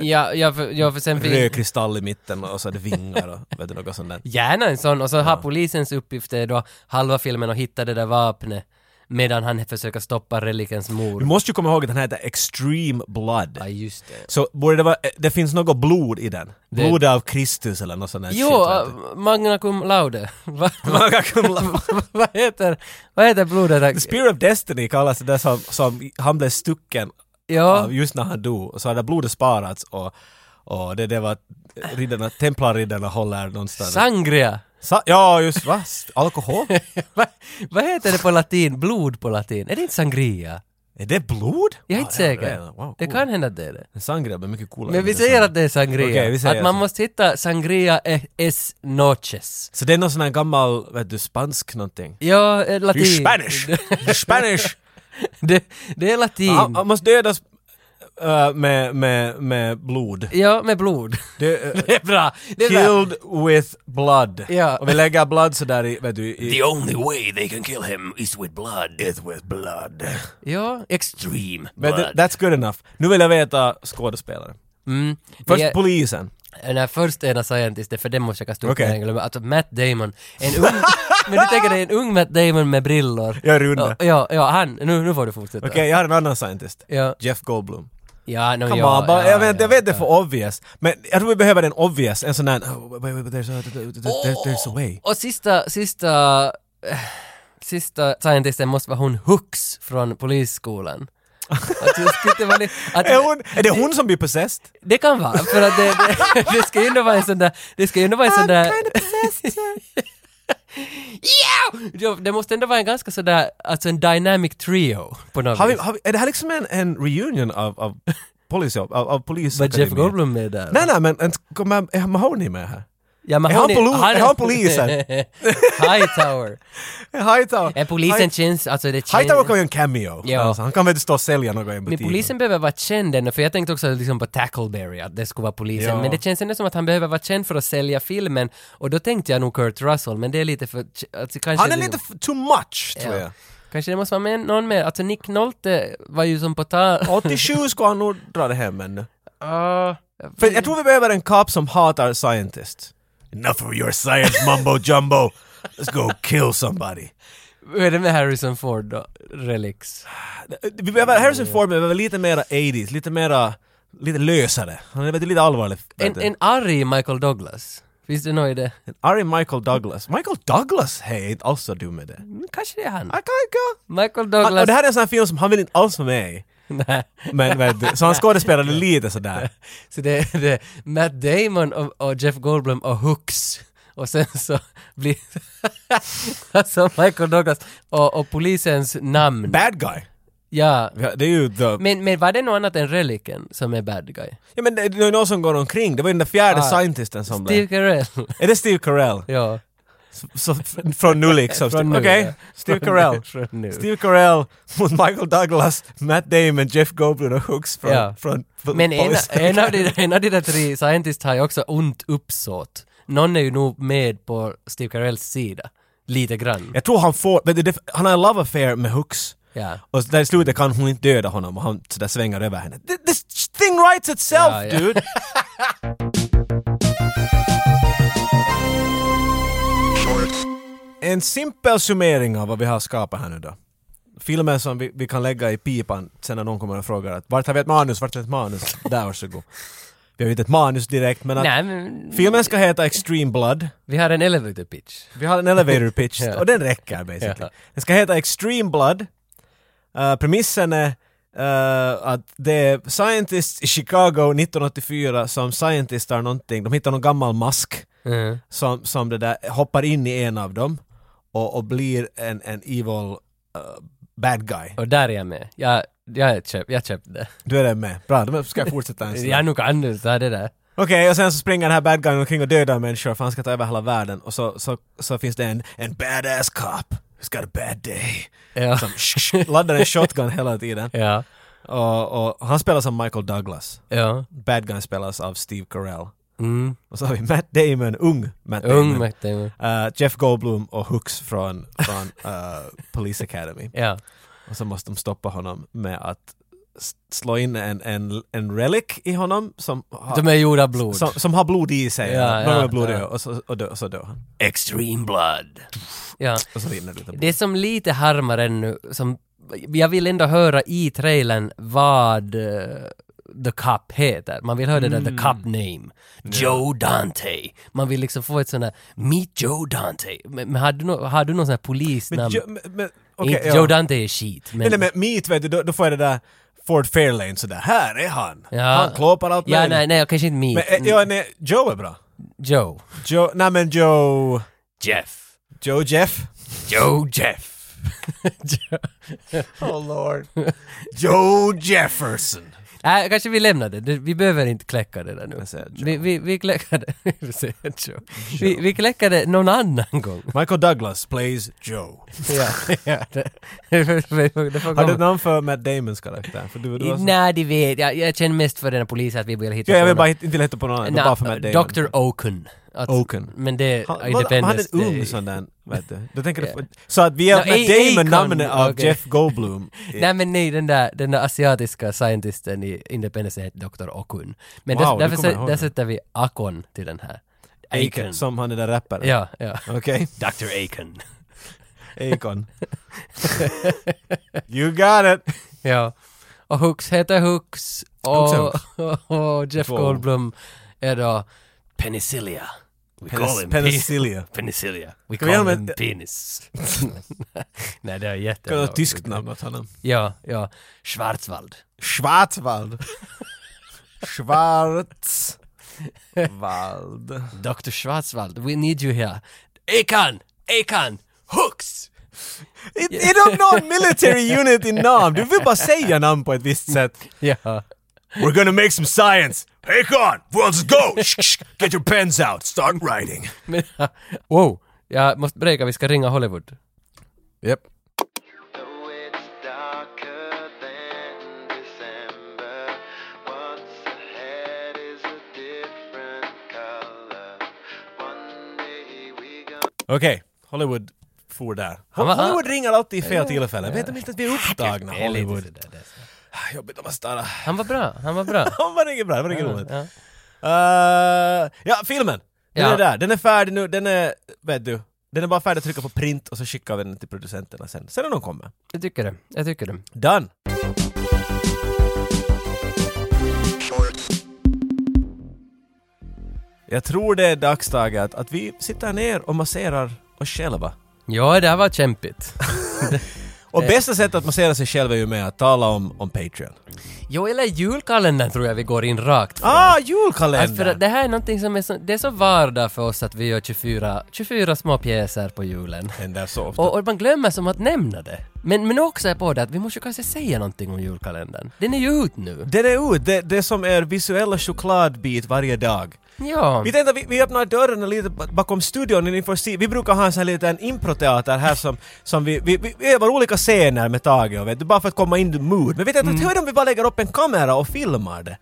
A: Ja, ja, för, ja, för sen
B: röd
A: finns
B: kristall i mitten och så är det vingar och vet du, något sånt där.
A: gärna en sån och så har polisens uppgift är då halva filmen att hitta det där vapnet medan han försöker stoppa relikens
B: Du
A: mor.
B: måste ju komma ihåg att den här heter Extreme Blood.
A: Ja, just det.
B: Så borde det vara, eh, det finns något blod i den.
A: Det-
B: Blod av Kristus eller något sånt där
A: Jo,
B: shit.
A: äh, magna cum laude. [LAUGHS] Va-
B: [LAUGHS]
A: va-
B: vet du.
A: [LAUGHS] Vad heter, vad heter
B: The
A: blodet?
B: Spear of Destiny kallas det där som, som han blev stucken
A: Ja,
B: av just när han dog. Och så har det blodet sparats och, och det, det var riddarna, templarriddarna håller någonstans.
A: sangria.
B: Sa- ja, just va? S-
A: [LAUGHS]
B: Alkohol?
A: Va- Vad heter det på latin? Blod på latin? Är det inte sangria?
B: är det blod?
A: Jag är inte
B: Ja, det-
A: säker.
B: Wow, cool.
A: Det kan hända att det är det.
B: En sangria blir mycket coolare.
A: Men vi
B: än
A: säger
B: sangria.
A: att det är sangria.
B: Okej, vi säger
A: att man
B: så.
A: måste hitta sangria e- es noches.
B: Så det är någon sån här gammal, vet du, spansk någonting?
A: Ja, eh, latin.
B: You're Spanish!
A: [LAUGHS]
B: You're Spanish! Ah,
A: Det, det är latin.
B: Han, han måste dödas eh, med, med, med blod.
A: Ja, med
B: [LAUGHS]
A: blod.
B: Det, eh,
A: [LAUGHS] Det är bra. Det är bra.
B: killed with blood.
A: Ja.
B: Och vi lägger blood sådär i, vet du, i,
D: only way they can kill him is with blood. Death with blood.
A: Ja, extreme.
D: Dream
B: men th- that's good enough. Nu vill jag veta skådespelare.
A: Mm.
B: Först
A: Det är-
B: polisen.
A: Den här första ena scientisten, för den måste jag kasta upp
B: Okej.
A: okay. glömmer. Alltså Matt Damon. En ung,
B: [LAUGHS]
A: men du tänker dig en ung Matt Damon med brillor.
B: Jag är runda.
A: Ja,
B: Okej,
A: ja, ja han. Nu, nu får du fortsätta.
B: jag har en annan scientist.
A: Ja,
B: Jeff Goldblum.
A: ja, no,
B: Come
A: ja,
B: on, bara,
A: ja,
B: jag, vet,
A: ja,
B: jag vet det
A: ja.
B: är för obvious. Men jag tror vi behöver en obvious, en sån där... Oh, wait, wait, there's, a, there's, there's a way.
A: Och sista, sista, eh, sista scientisten måste vara hon Hux från polisskolan. Att det, skulle inte vara li- att
B: Är, hon, är det hon som blir possessed?
A: det kan vara, för att det, det, det ska ju ändå vara en sån där, det ska ju ändå vara en sån där... Ja! Jo, Det måste ändå vara en ganska sådär, alltså en dynamic trio på något
B: Har vi,
A: vis.
B: har vi, är det här liksom en, en reunion av, [LAUGHS] av policy, av, av polis?
A: Var Jeff Goldblum med där?
B: Nej, nej, men en- kommer- är Mahoney med [LAUGHS] här?
A: Ja, men
B: Är han poli- är han polisen?
A: [LAUGHS] Hightower.
B: Hightower!
A: Är polisen
B: High-
A: tjänst, alltså det tjänst...
B: Hightower kan ju en cameo.
A: Ja.
B: Alltså, han kan väl stå och sälja något i en
A: Men
B: butik.
A: polisen behöver vara känd ändå, för jag tänkte också liksom på Tackleberry, att det skulle vara polisen.
B: Ja.
A: Men det känns ändå som att han behöver vara känd för att sälja filmen. Och då tänkte jag nog Kurt Russell, men det är lite för... Alltså, kanske
B: Han är lite f- too much, tror jag.
A: Ja. Kanske det måste vara med någon mer. Alltså Nick Nolte var ju som på tal...
B: 87 ska han nog dra det
A: [LAUGHS]
B: hem ännu.
A: Ah,
B: För jag tror vi behöver en cop som hatar scientist. Enough of your science mumbo jumbo. Let's go kill somebody.
A: Hur är det med Harrison Ford då? Relics.
B: Vi behöver, Harrison Ford behöver lite mera 80s, lite mera lite lösare. Han är vet du, lite allvarlig.
A: En, en arg Michael Douglas. Finns det något i det?
B: Ari Michael Douglas. Michael Douglas, hej, är inte alls så dum med det.
A: Mm, Kanske det är han.
B: Han kan inte...
A: Michael
B: Han, och
A: Douglas.
B: det här är en sån här film som han vill inte alls vara med i.
A: Nej.
B: Men,
A: [LAUGHS]
B: vet du, så han skådespelade lite sådär.
A: Så det [LAUGHS] är, det är Matt Damon och, och Jeff Goldblum och Hooks. Och sen så [LAUGHS] blir alltså Michael Douglas och, och polisens namn.
B: Bad guy.
A: Ja.
B: Ja, Det är ju the...
A: Men, men var det något annat än reliken som är bad guy?
B: Ja men det det är någon som går omkring, det var ju den där fjärde
A: Ah.
B: scientisten som
A: Steve
B: blev...
A: Carell.
B: [LAUGHS] Är det Steve Carell?
A: ja.
B: Så, f- från nu liksom?
A: Från nu,
B: Okej,
A: ja.
B: Steve
A: Från
B: Carell.
A: nu, [LAUGHS] från nu.
B: Steve Carell mot Michael Douglas, Matt Damon, Jeff Goldblum och Hooks från...
A: Ja.
B: från, från
A: Men en,
B: Police
A: en, av
B: Academy.
A: de, en av de där tre scientists har ju också ont uppsåt. Någon är ju nog med på Steve Carells sida. Lite grann.
B: Jag tror han får... vet du, det- Han har en love affair med Hooks.
A: Ja.
B: Och där i slutet kan hon inte döda honom och han sådär svänger över henne. Th- This thing writes itself
A: Ja, ja. [LAUGHS]
B: dude!
C: shorts,
B: En simpel summering av vad vi har skapat här nu då. Filmen som vi, vi kan lägga i pipan sen när någon kommer och frågar att vart har vi ett manus, vart har vi ett manus? Där varsågod. Vi har ju inte ett manus direkt men att
A: Nej, men
B: filmen ska heta Extreme Blood.
A: vi har en elevator pitch.
B: Vi har en elevator
A: [LAUGHS]
B: pitch
A: Ja.
B: och den räcker basically.
A: Ja.
B: Den ska heta Extreme Blood. Eh, premissen är eh, att det är scientists i Chicago 1984 som scientistar någonting, de hittar någon gammal mask
A: Mm.
B: som, som det där hoppar in i en av dem och, och blir en, en evil eh, bad guy.
A: Och där är jag med. Jag, jag, köp, jag köpte det.
B: Du är det med. Bra, då ska jag
A: [LAUGHS]
B: fortsätta en stund.
A: Jag nog kan du ta det där.
B: Okej, och sen så springer den här bad guyen omkring och dödar människor för han ska ta över hela världen och så, så, så finns det en, en badass cop who's got a bad day.
A: Ja.
B: Som sh- [LAUGHS] sh- laddar en shotgun hela tiden.
A: Ja.
B: Och, och han spelas av Michael Douglas.
A: Ja.
B: Bad guy spelas av Steve Carell.
A: Mm.
B: Och så har vi Matt Damon, ung Matt Damon.
A: Ung Matt Damon.
B: Eh, Jeff Goldblum och Hooks från, från eh, Police Academy.
A: Ja.
B: Och så måste de stoppa honom med att s- slå in en, en, en relic i honom som har,
A: De är gjorda av blod.
B: Som, som har blod i sig.
A: Ja,
B: Någon
A: ja,
B: med blod i
A: ja.
B: och, så, och, dö, och så dör han.
D: Extreme blood.
A: Ja.
B: Och så rinner det lite blod.
A: Det som lite härmar ännu, som jag vill ändå höra i trailern vad eh, The Cup heter. Man vill höra det
B: Mm.
A: där The Cup name.
D: Joe Dante.
A: Man vill liksom få ett sånt där Meet Joe Dante. Men, men har, du no, har du någon sån här polisnamn?
B: Men, jo, men, men okej,
A: Inte
B: ja.
A: Joe Dante är skit. Men,
B: Nej, nej, men meet, vet du, då, då får jag det där Ford Fairlane sådär, här är han!
A: Ja.
B: Han klåpar allt
A: ja,
B: möjligt.
A: nej, nej, jag kanske inte Meet.
B: Men, eh, ja, nej, Joe är bra.
A: Joe.
B: Joe, nej men Joe...
D: Jeff.
B: Joe
A: [LAUGHS]
B: Jeff?
D: Joe Jeff.
B: [LAUGHS] Oh lord. Joe Jefferson!
A: Nej, kanske vi lämnar det. det. Vi behöver inte kläcka det där nu.
B: Jag säger Joe.
A: Vi, vi, vi kläcker det. [LAUGHS] Vi säger Joe. Vi, vi kläcker det någon annan gång.
B: Michael Douglas plays Joe.
A: [LAUGHS] ja, ja, det, det får- det får
B: Har du ett
A: komma.
B: namn för Matt Damons karaktär? För du, du var så...
A: Nej, det vet jag. Jag känner mest för den här polisen att vi vill hitta
B: Ja, jag vill
A: på
B: bara hit- inte leta på någon annan, det var bara för Matt
A: någon-
B: Damon.
A: Dr. Oaken. Att-
B: Oaken.
A: Men det...
B: Han, vad- han hade
A: Independence
B: en ung
A: Day.
B: sån där, vet du. Då tänker
A: Ja.
B: du på- Så att vi har
A: No,
B: Matt
A: A-
B: Damon
A: Akon,
B: namnet av
A: okej.
B: Jeff Goldblum.
D: Eh.
A: Nej men nej, den där, den där asiatiska scientisten i Independence Day heter Dr. Okun. Men
B: Wow,
A: där,
B: du
A: därför
B: kommer
A: så,
B: ihåg
A: där
B: det.
A: sätter vi Akon till den här.
B: Akon. Som han är där rapparen.
A: Ja, ja.
B: Okej,
D: Dr. Aiken.
B: Akon. [LAUGHS] you got it!
A: [LAUGHS] ja. Och Hooks heter Hooks.
B: Hooks är
A: Och, [LAUGHS] och, Jeff
B: Wow.
A: Goldblum är då...
D: Penicillia. We call
B: Penis-
D: him penis.
B: Penicillia.
D: Penicillia. We
B: Kan vi
D: call
B: göra
D: him
B: med-
D: penis.
A: [LAUGHS] Nej, det är
B: Kan du ha
A: jättebra.
B: ett tyskt namn åt honom?
A: Ja, ja. Schwarzwald.
D: [LAUGHS]
B: Schwarzwald. Schwarzwald.
A: Dr. Schwarzwald, we need you here. Ekan! Ekan! Hooks!
B: It, it don't know military unit in namn. Du vill bara säga namn på ett visst sätt.
A: Ja.
B: We're gonna make some science. Hey con, well let's go! Shh, shh. Get your pens out, start writing.
A: Men, wow! Jag måste breaka, vi ska ringa Hollywood.
B: Yep.
E: Though it's darker than December, what's ahead is a different color. One day we go.
B: Okej, Hollywood for där.
A: Han var-
B: Hollywood ringer alltid i fel tillfälle. Vet de inte att vi är upptagna?
A: Det är lite
B: Hollywood.
A: sådär, det är så.
B: Ah, Jobbigt att vara [LAUGHS] starra.
A: Han var bra, han var bra.
B: Det var inget bra, det var inget roligt.
A: [LAUGHS] ja.
B: Eh, ja, filmen! Den
A: Ja.
B: är där, den är färdig nu, den är, vet du, den är bara färdig att trycka på print och så skickar vi den till producenterna sen, sen när de kommer.
A: Jag tycker det, jag tycker det.
B: Done!
C: shorts.
B: Jag tror det är dags Tage, att, att vi sitter ner och masserar oss själva.
A: Ja, det här var kämpigt.
B: Och bästa sättet att massera sig själv är ju med att tala om, om Patreon.
A: Jo, eller julkalendern tror jag vi går in rakt för.
B: Ah,
A: Att för
B: julkalender!
A: att det här är någonting som är så, det är så vardag för oss att vi gör 24, 24 små pjäser på julen.
B: Händer så ofta.
A: Och, och man glömmer som att nämna det. Men, men också är på det att vi måste ju kanske säga någonting om julkalendern. Den är ju ut nu.
B: Den är ut, det, det är som är visuella chokladbit varje dag.
A: Ja.
B: Vi tänkte att vi, vi öppnar dörrarna lite ba- bakom studion, ni får se. Vi brukar ha en sån här liten improteater här som, som vi, vi, vi övar olika scener med Tage och vet du, bara för att komma in i mood. Men vi tänkte
A: Mm.
B: att hur är det om vi bara lägger upp en kamera och filmar det?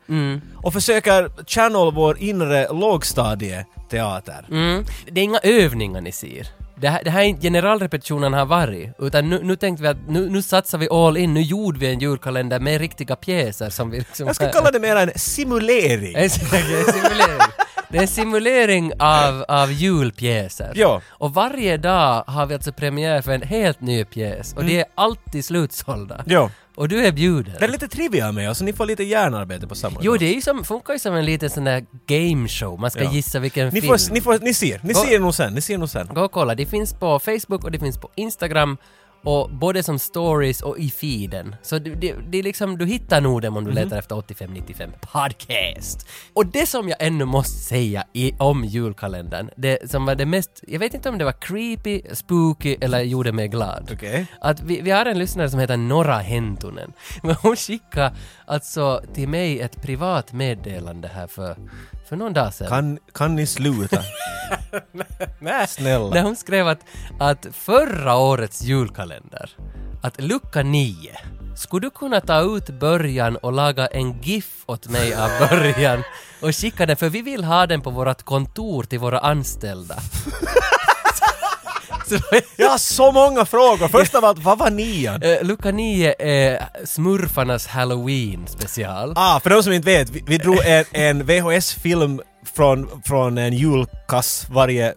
B: Och försöker channel vår inre lågstadieteater.
A: Mm. Det är inga övningar ni ser. Det här, det här är inte generalrepetitionen har varit, utan nu, nu tänkte vi att nu, nu satsar vi all in, nu gjorde vi en julkalender med riktiga pjäser som vi liksom... [LAUGHS]
B: Jag skulle kalla det mer en simulering.
A: En sim- en simulering. Det är en simulering av, av julpjäser.
B: Ja.
A: Och varje dag har vi alltså premiär för en helt ny pjäs och det är alltid slutsålda.
B: Mm. Ja.
A: Och du är bjuden.
B: Det är lite trivia med oss, så ni får lite hjärnarbete på samma
A: Jo,
B: gång.
A: det är ju som, funkar ju som en liten sån där game show. Man ska
B: Ja.
A: gissa vilken
B: ni,
A: film.
B: får, ni, får, ni ser, ni
A: Och-
B: ser nog sen, ni ser nog sen.
A: Gå och kolla, det finns på Facebook och det finns på Instagram och både som stories och i feeden. Så det, det, det är liksom, du hittar nog dem om du letar efter 8595 podcast. Och det som jag ännu måste säga i, om julkalendern, det som var det mest, jag vet inte om det var creepy, spooky eller gjorde mig glad.
B: Okej.
A: Att vi, vi har en lyssnare som heter Norra Hentunen. [LAUGHS] Men hon skickade alltså till mig ett privat meddelande här för, för någon dag sedan.
B: Kan, kan
A: [LAUGHS]
B: ni sluta? Snälla.
A: När hon skrev att, att förra årets julkalender, att lucka 9, skulle du kunna ta ut början och laga en GIF åt mig av början och skicka den, för vi vill ha den på vårt kontor till våra anställda. [LAUGHS] Så,
B: Jag har så många frågor. Först av allt, vad var nian?
A: eh, lucka 9 är smurfarnas halloween special.
B: Ah, för de som inte vet, vi, vi drog en, en VHS-film från, från en julkass varje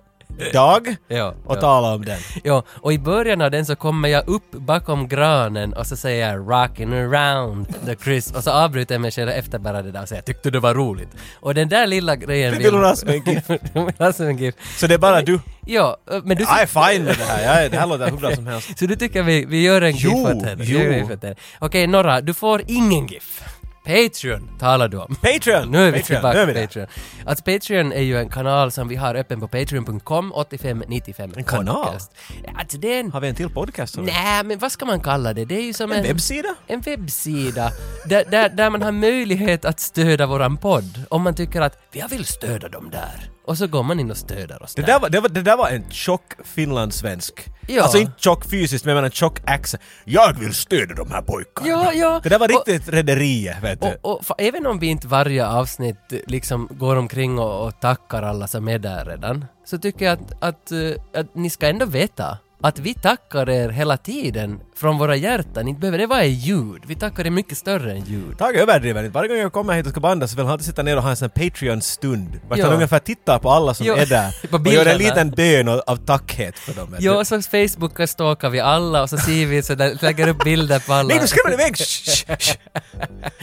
B: dag
A: Ja,
B: och
A: ja.
B: talade om den.
A: Ja, och i början av den så kommer jag upp bakom granen och så säger jag “rockin' around the Chris” och så avbryter jag mig själv efter bara det där och säger “jag tyckte det var roligt”. Och den där lilla grejen
B: Det
A: [LAUGHS]
B: vill hon ha som en GIF.
A: Hon vill ha som en GIF.
B: Så det är bara du.
A: Ja, men du...
B: Jag är fine med det här. Jag är, det här låter hur bra som helst.
A: Så du tycker vi, vi gör en
B: Jo,
A: GIF åt henne? Vi
B: jo.
A: gör en GIF åt henne. Okej, Norra, du får ingen GIF. Patreon talar du om. [LAUGHS]
B: Patreon!
A: Nu är vi
B: Patreon.
A: tillbaka
B: Nu är vi
A: på
B: där.
A: Patreon. Alltså Patreon är ju en kanal som vi har öppen på patreon.com 8595
B: En kanal?
A: podcast. Alltså det är en
B: Har vi en till podcast? eller?
A: Nej, men vad ska man kalla det? Det är ju som en...
B: En webbsida?
A: en webbsida där, där, där man har möjlighet att stödja våran podd. Om man tycker att jag vill stödja dem där. Och så går man in och stöder oss
B: Det
A: där.
B: där, var, det, var, det där var en tjock finlandssvensk.
A: Ja.
B: Alltså inte tjock fysiskt, men jag menar tjock accent. Jag vill stödja de här pojkarna.
A: Ja, ja.
B: Det där var
A: Och-
B: riktigt rederiet, vet du.
A: Och, och för, även om vi inte varje avsnitt eh, liksom går omkring och, och tackar alla som är där redan, så tycker jag att, att, eh, att ni ska ändå veta att vi tackar er hela tiden från våra hjärtan. Inte behöver det vara i ljud. Vi tackar er mycket större än ljud.
B: Tage överdriver inte. Varje gång jag kommer hit och ska banda så vill han alltid sitta ner och ha en sån här Patreon-stund. Vart
A: Ja.
B: han ungefär tittar på alla som
A: Ja,
B: är där.
A: [LAUGHS] på
B: och gör
A: bilderna.
B: en liten bön av, av tackhet för dem. vet du.
A: Ja, och så Facebookar stalkar vi alla och så ser vi så där, lägger upp bilder
B: [LAUGHS]
A: på alla.
B: Nej, nu skrämmer du iväg! Shh, shh,
A: [LAUGHS]
B: shh.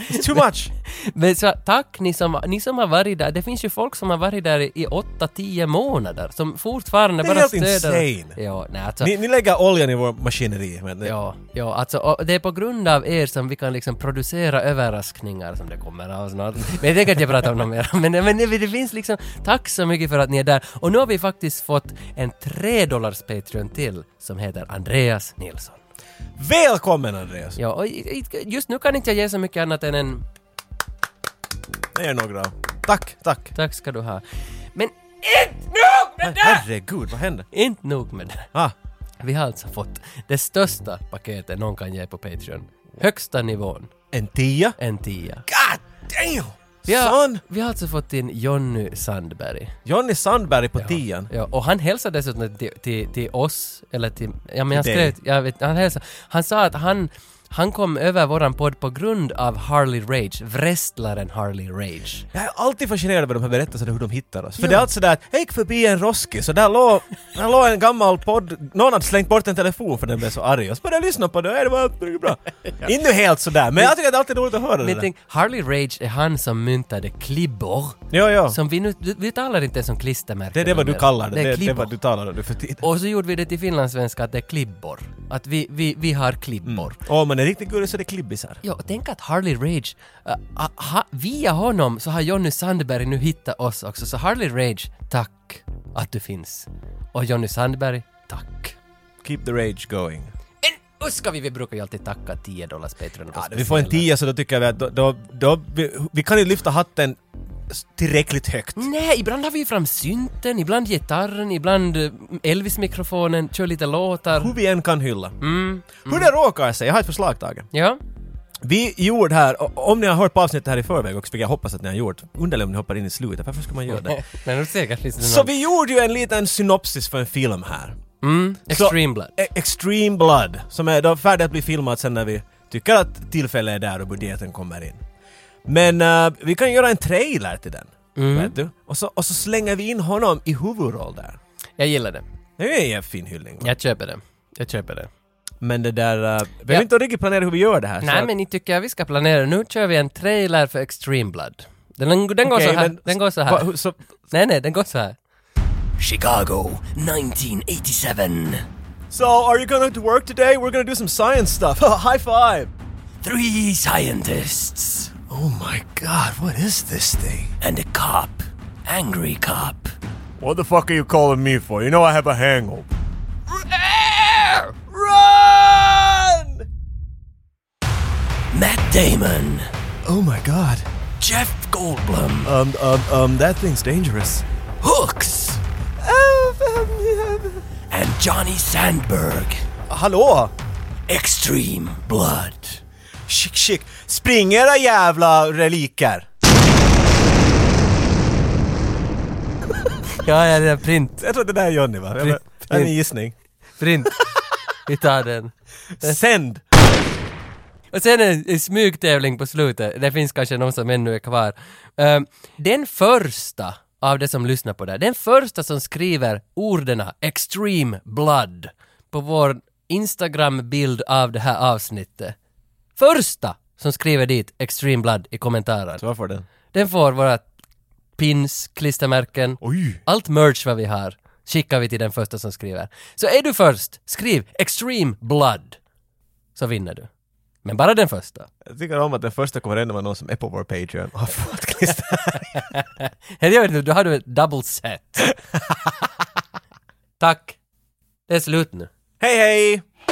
B: It's too much!
A: Men så tack ni som, ni som har varit där. Det finns ju folk som har varit där i 8-10 månader som fortfarande
B: Det är
A: bara
B: helt
A: stöder...
B: insane.
A: Ja, nej, alltså,
B: Ni, ni lägger oljan i vår maskineri. Men,
A: ja, ja, alltså och det är på grund av er som vi kan liksom producera överraskningar som det kommer av snart. Men jag tänker inte prata om något mer. [LAUGHS] Men, men det det finns liksom, tack så mycket för att ni är där. Och nu har vi faktiskt fått en 3 dollars Patreon till som heter Andreas Nilsson.
B: Välkommen Andreas!
A: Ja, och i- i- just nu kan inte jag ge så mycket annat än en
B: Det är några. Tack, tack.
A: tack ska du ha. Men inte nog [LAUGHS] med det!
B: Herregud, vad hände?
A: Inte nog med det.
B: Ah,
A: Vi har alltså fått det största paketet någon kan ge på Patreon. Högsta nivån,
B: en tia?
A: en tia.
B: God damn!
A: Vi
B: Son!
A: har, vi har alltså fått in Jonny Sandberg.
B: Johnny Sandberg på tian.
A: Ja, och han hälsade dessutom till, till, till oss, eller till... Ja, men jag
B: Till
A: skrev... Jag vet, han, hälsade, han sa att han, Han kom över våran podd på grund av Harley Rage, wrestlaren Harley Rage.
B: Jag är alltid fascinerad över de här berättelserna hur de hittar oss. För det är alltid sådär att jag gick förbi en roskis och där låg, där låg en gammal podd, någon hade slängt bort en telefon för den blev så arg och så började jag lyssna på det och det var mycket [LAUGHS] bra. Inte helt sådär, men jag tycker att det är alltid roligt att höra det
A: Men
B: där.
A: tänk, Harley Rage är han som myntade klibbor.
B: Ja, ja.
A: Som vi nu, vi- vi talar inte ens om klistermärken.
B: Det är det vad du
A: numera.
B: kallar det.
A: Det är
B: Det är det
A: klibbor.
B: vad du talar om nu för tiden.
A: Och så gjorde vi det till finlandssvenska att det är klibbor. Att vi, vi, vi har klibbor.
B: Om man är riktigt gullig så är det klibbisar.
A: Ja, tänk att Harley Rage, äh, ah, ha, via honom så har Jonny Sandberg nu hittat oss också. Så Harley Rage, tack att du finns. Och Jonny Sandberg, tack.
B: Keep the rage going.
A: En Uska vi, vi brukar ju alltid tacka 10 dollars Patreon.
B: Ja, Alltså, vi får en tia så då tycker jag att då, då, då, vi, vi kan ju lyfta hatten s- tillräckligt högt.
A: Nej, ibland har vi fram synten, ibland gitarren, ibland eh, Elvis-mikrofonen, kör lite låtar. Mm.
B: Hur vi än kan hylla. Hur det råkar sig, jag har ett förslag Tage.
A: Ja,
B: Vi gjorde här, o- om ni har hört på avsnittet här i förväg också, vilket jag hoppas att ni har gjort, undrar om ni hoppar in i slutet, varför skulle man
A: [LAUGHS]
B: göra det?
A: men du ser kanske lite
B: Så vi gjorde ju en liten synopsis för en film här.
A: Mm, Extreme Blood.
B: E- Extreme Blood, som är då färdig att bli filmad sen när vi tycker att tillfället är där och budgeten kommer in. Men eh, vi kan göra en trailer till den.
A: Mm.
B: Vet du? Och så, och så slänger vi in honom i huvudroll där.
A: Jag gillar det.
B: Det är en fin hyllning. va?
A: Jag köper det. Jag köper det.
B: Men det där... eh, vi
A: Ja.
B: har inte riktigt planerat hur vi gör det här. så
A: Nej,
B: att-
A: men ni tycker jag vi ska planera. Nu kör vi en trailer för Extreme Blood. Den, den, går,
B: Okej,
A: så här.
B: men-
A: den går så här.
B: Va, hur- så,
A: Nej, nej, den går så här.
D: Chicago, 1987.
B: so are you going to work today? We're going to do some science stuff. [LAUGHS] High five!
D: Three scientists
B: Oh my god, what is this thing?
D: and a cop. Angry cop.
B: What the fuck are you calling me for? You know I have a hangover. Run!
D: Matt Damon.
B: Oh my god.
D: Jeff Goldblum.
B: Um, um, um, that thing's dangerous.
D: Hooks. And Johnny Sandberg.
B: Hallå!
D: Extreme Blood.
B: Chick, chick. Spring era jävla reliker!
A: Ja, ja, det är print.
B: Jag tror att det där är Johnny va? Eller? Det är en gissning.
A: [LAUGHS] Print. Vi tar den.
B: Sänd!
A: Och sen en, en smygtävling på slutet. Det finns kanske någon som ännu är kvar. Ehm, den första av det som lyssnar på det här, den första som skriver orden “Extreme Blood” på vår Instagram-bild av det här avsnittet. Första som skriver dit “Extreme Blood” i kommentaren.
B: Så varför den?
A: Den får våra pins, klistermärken,
B: Oj!
A: allt merch vad vi har skickar vi till den första som skriver. Så är du först, skriv “Extreme Blood” så vinner du. Men bara den första.
B: Jag tycker om att den första kommer ändå vara någon som är på vår [LAUGHS] Patreon och har fått klister.
A: Eller jag vet inte, då har du ett double set. Tack. Det är slut nu.
B: hej hej!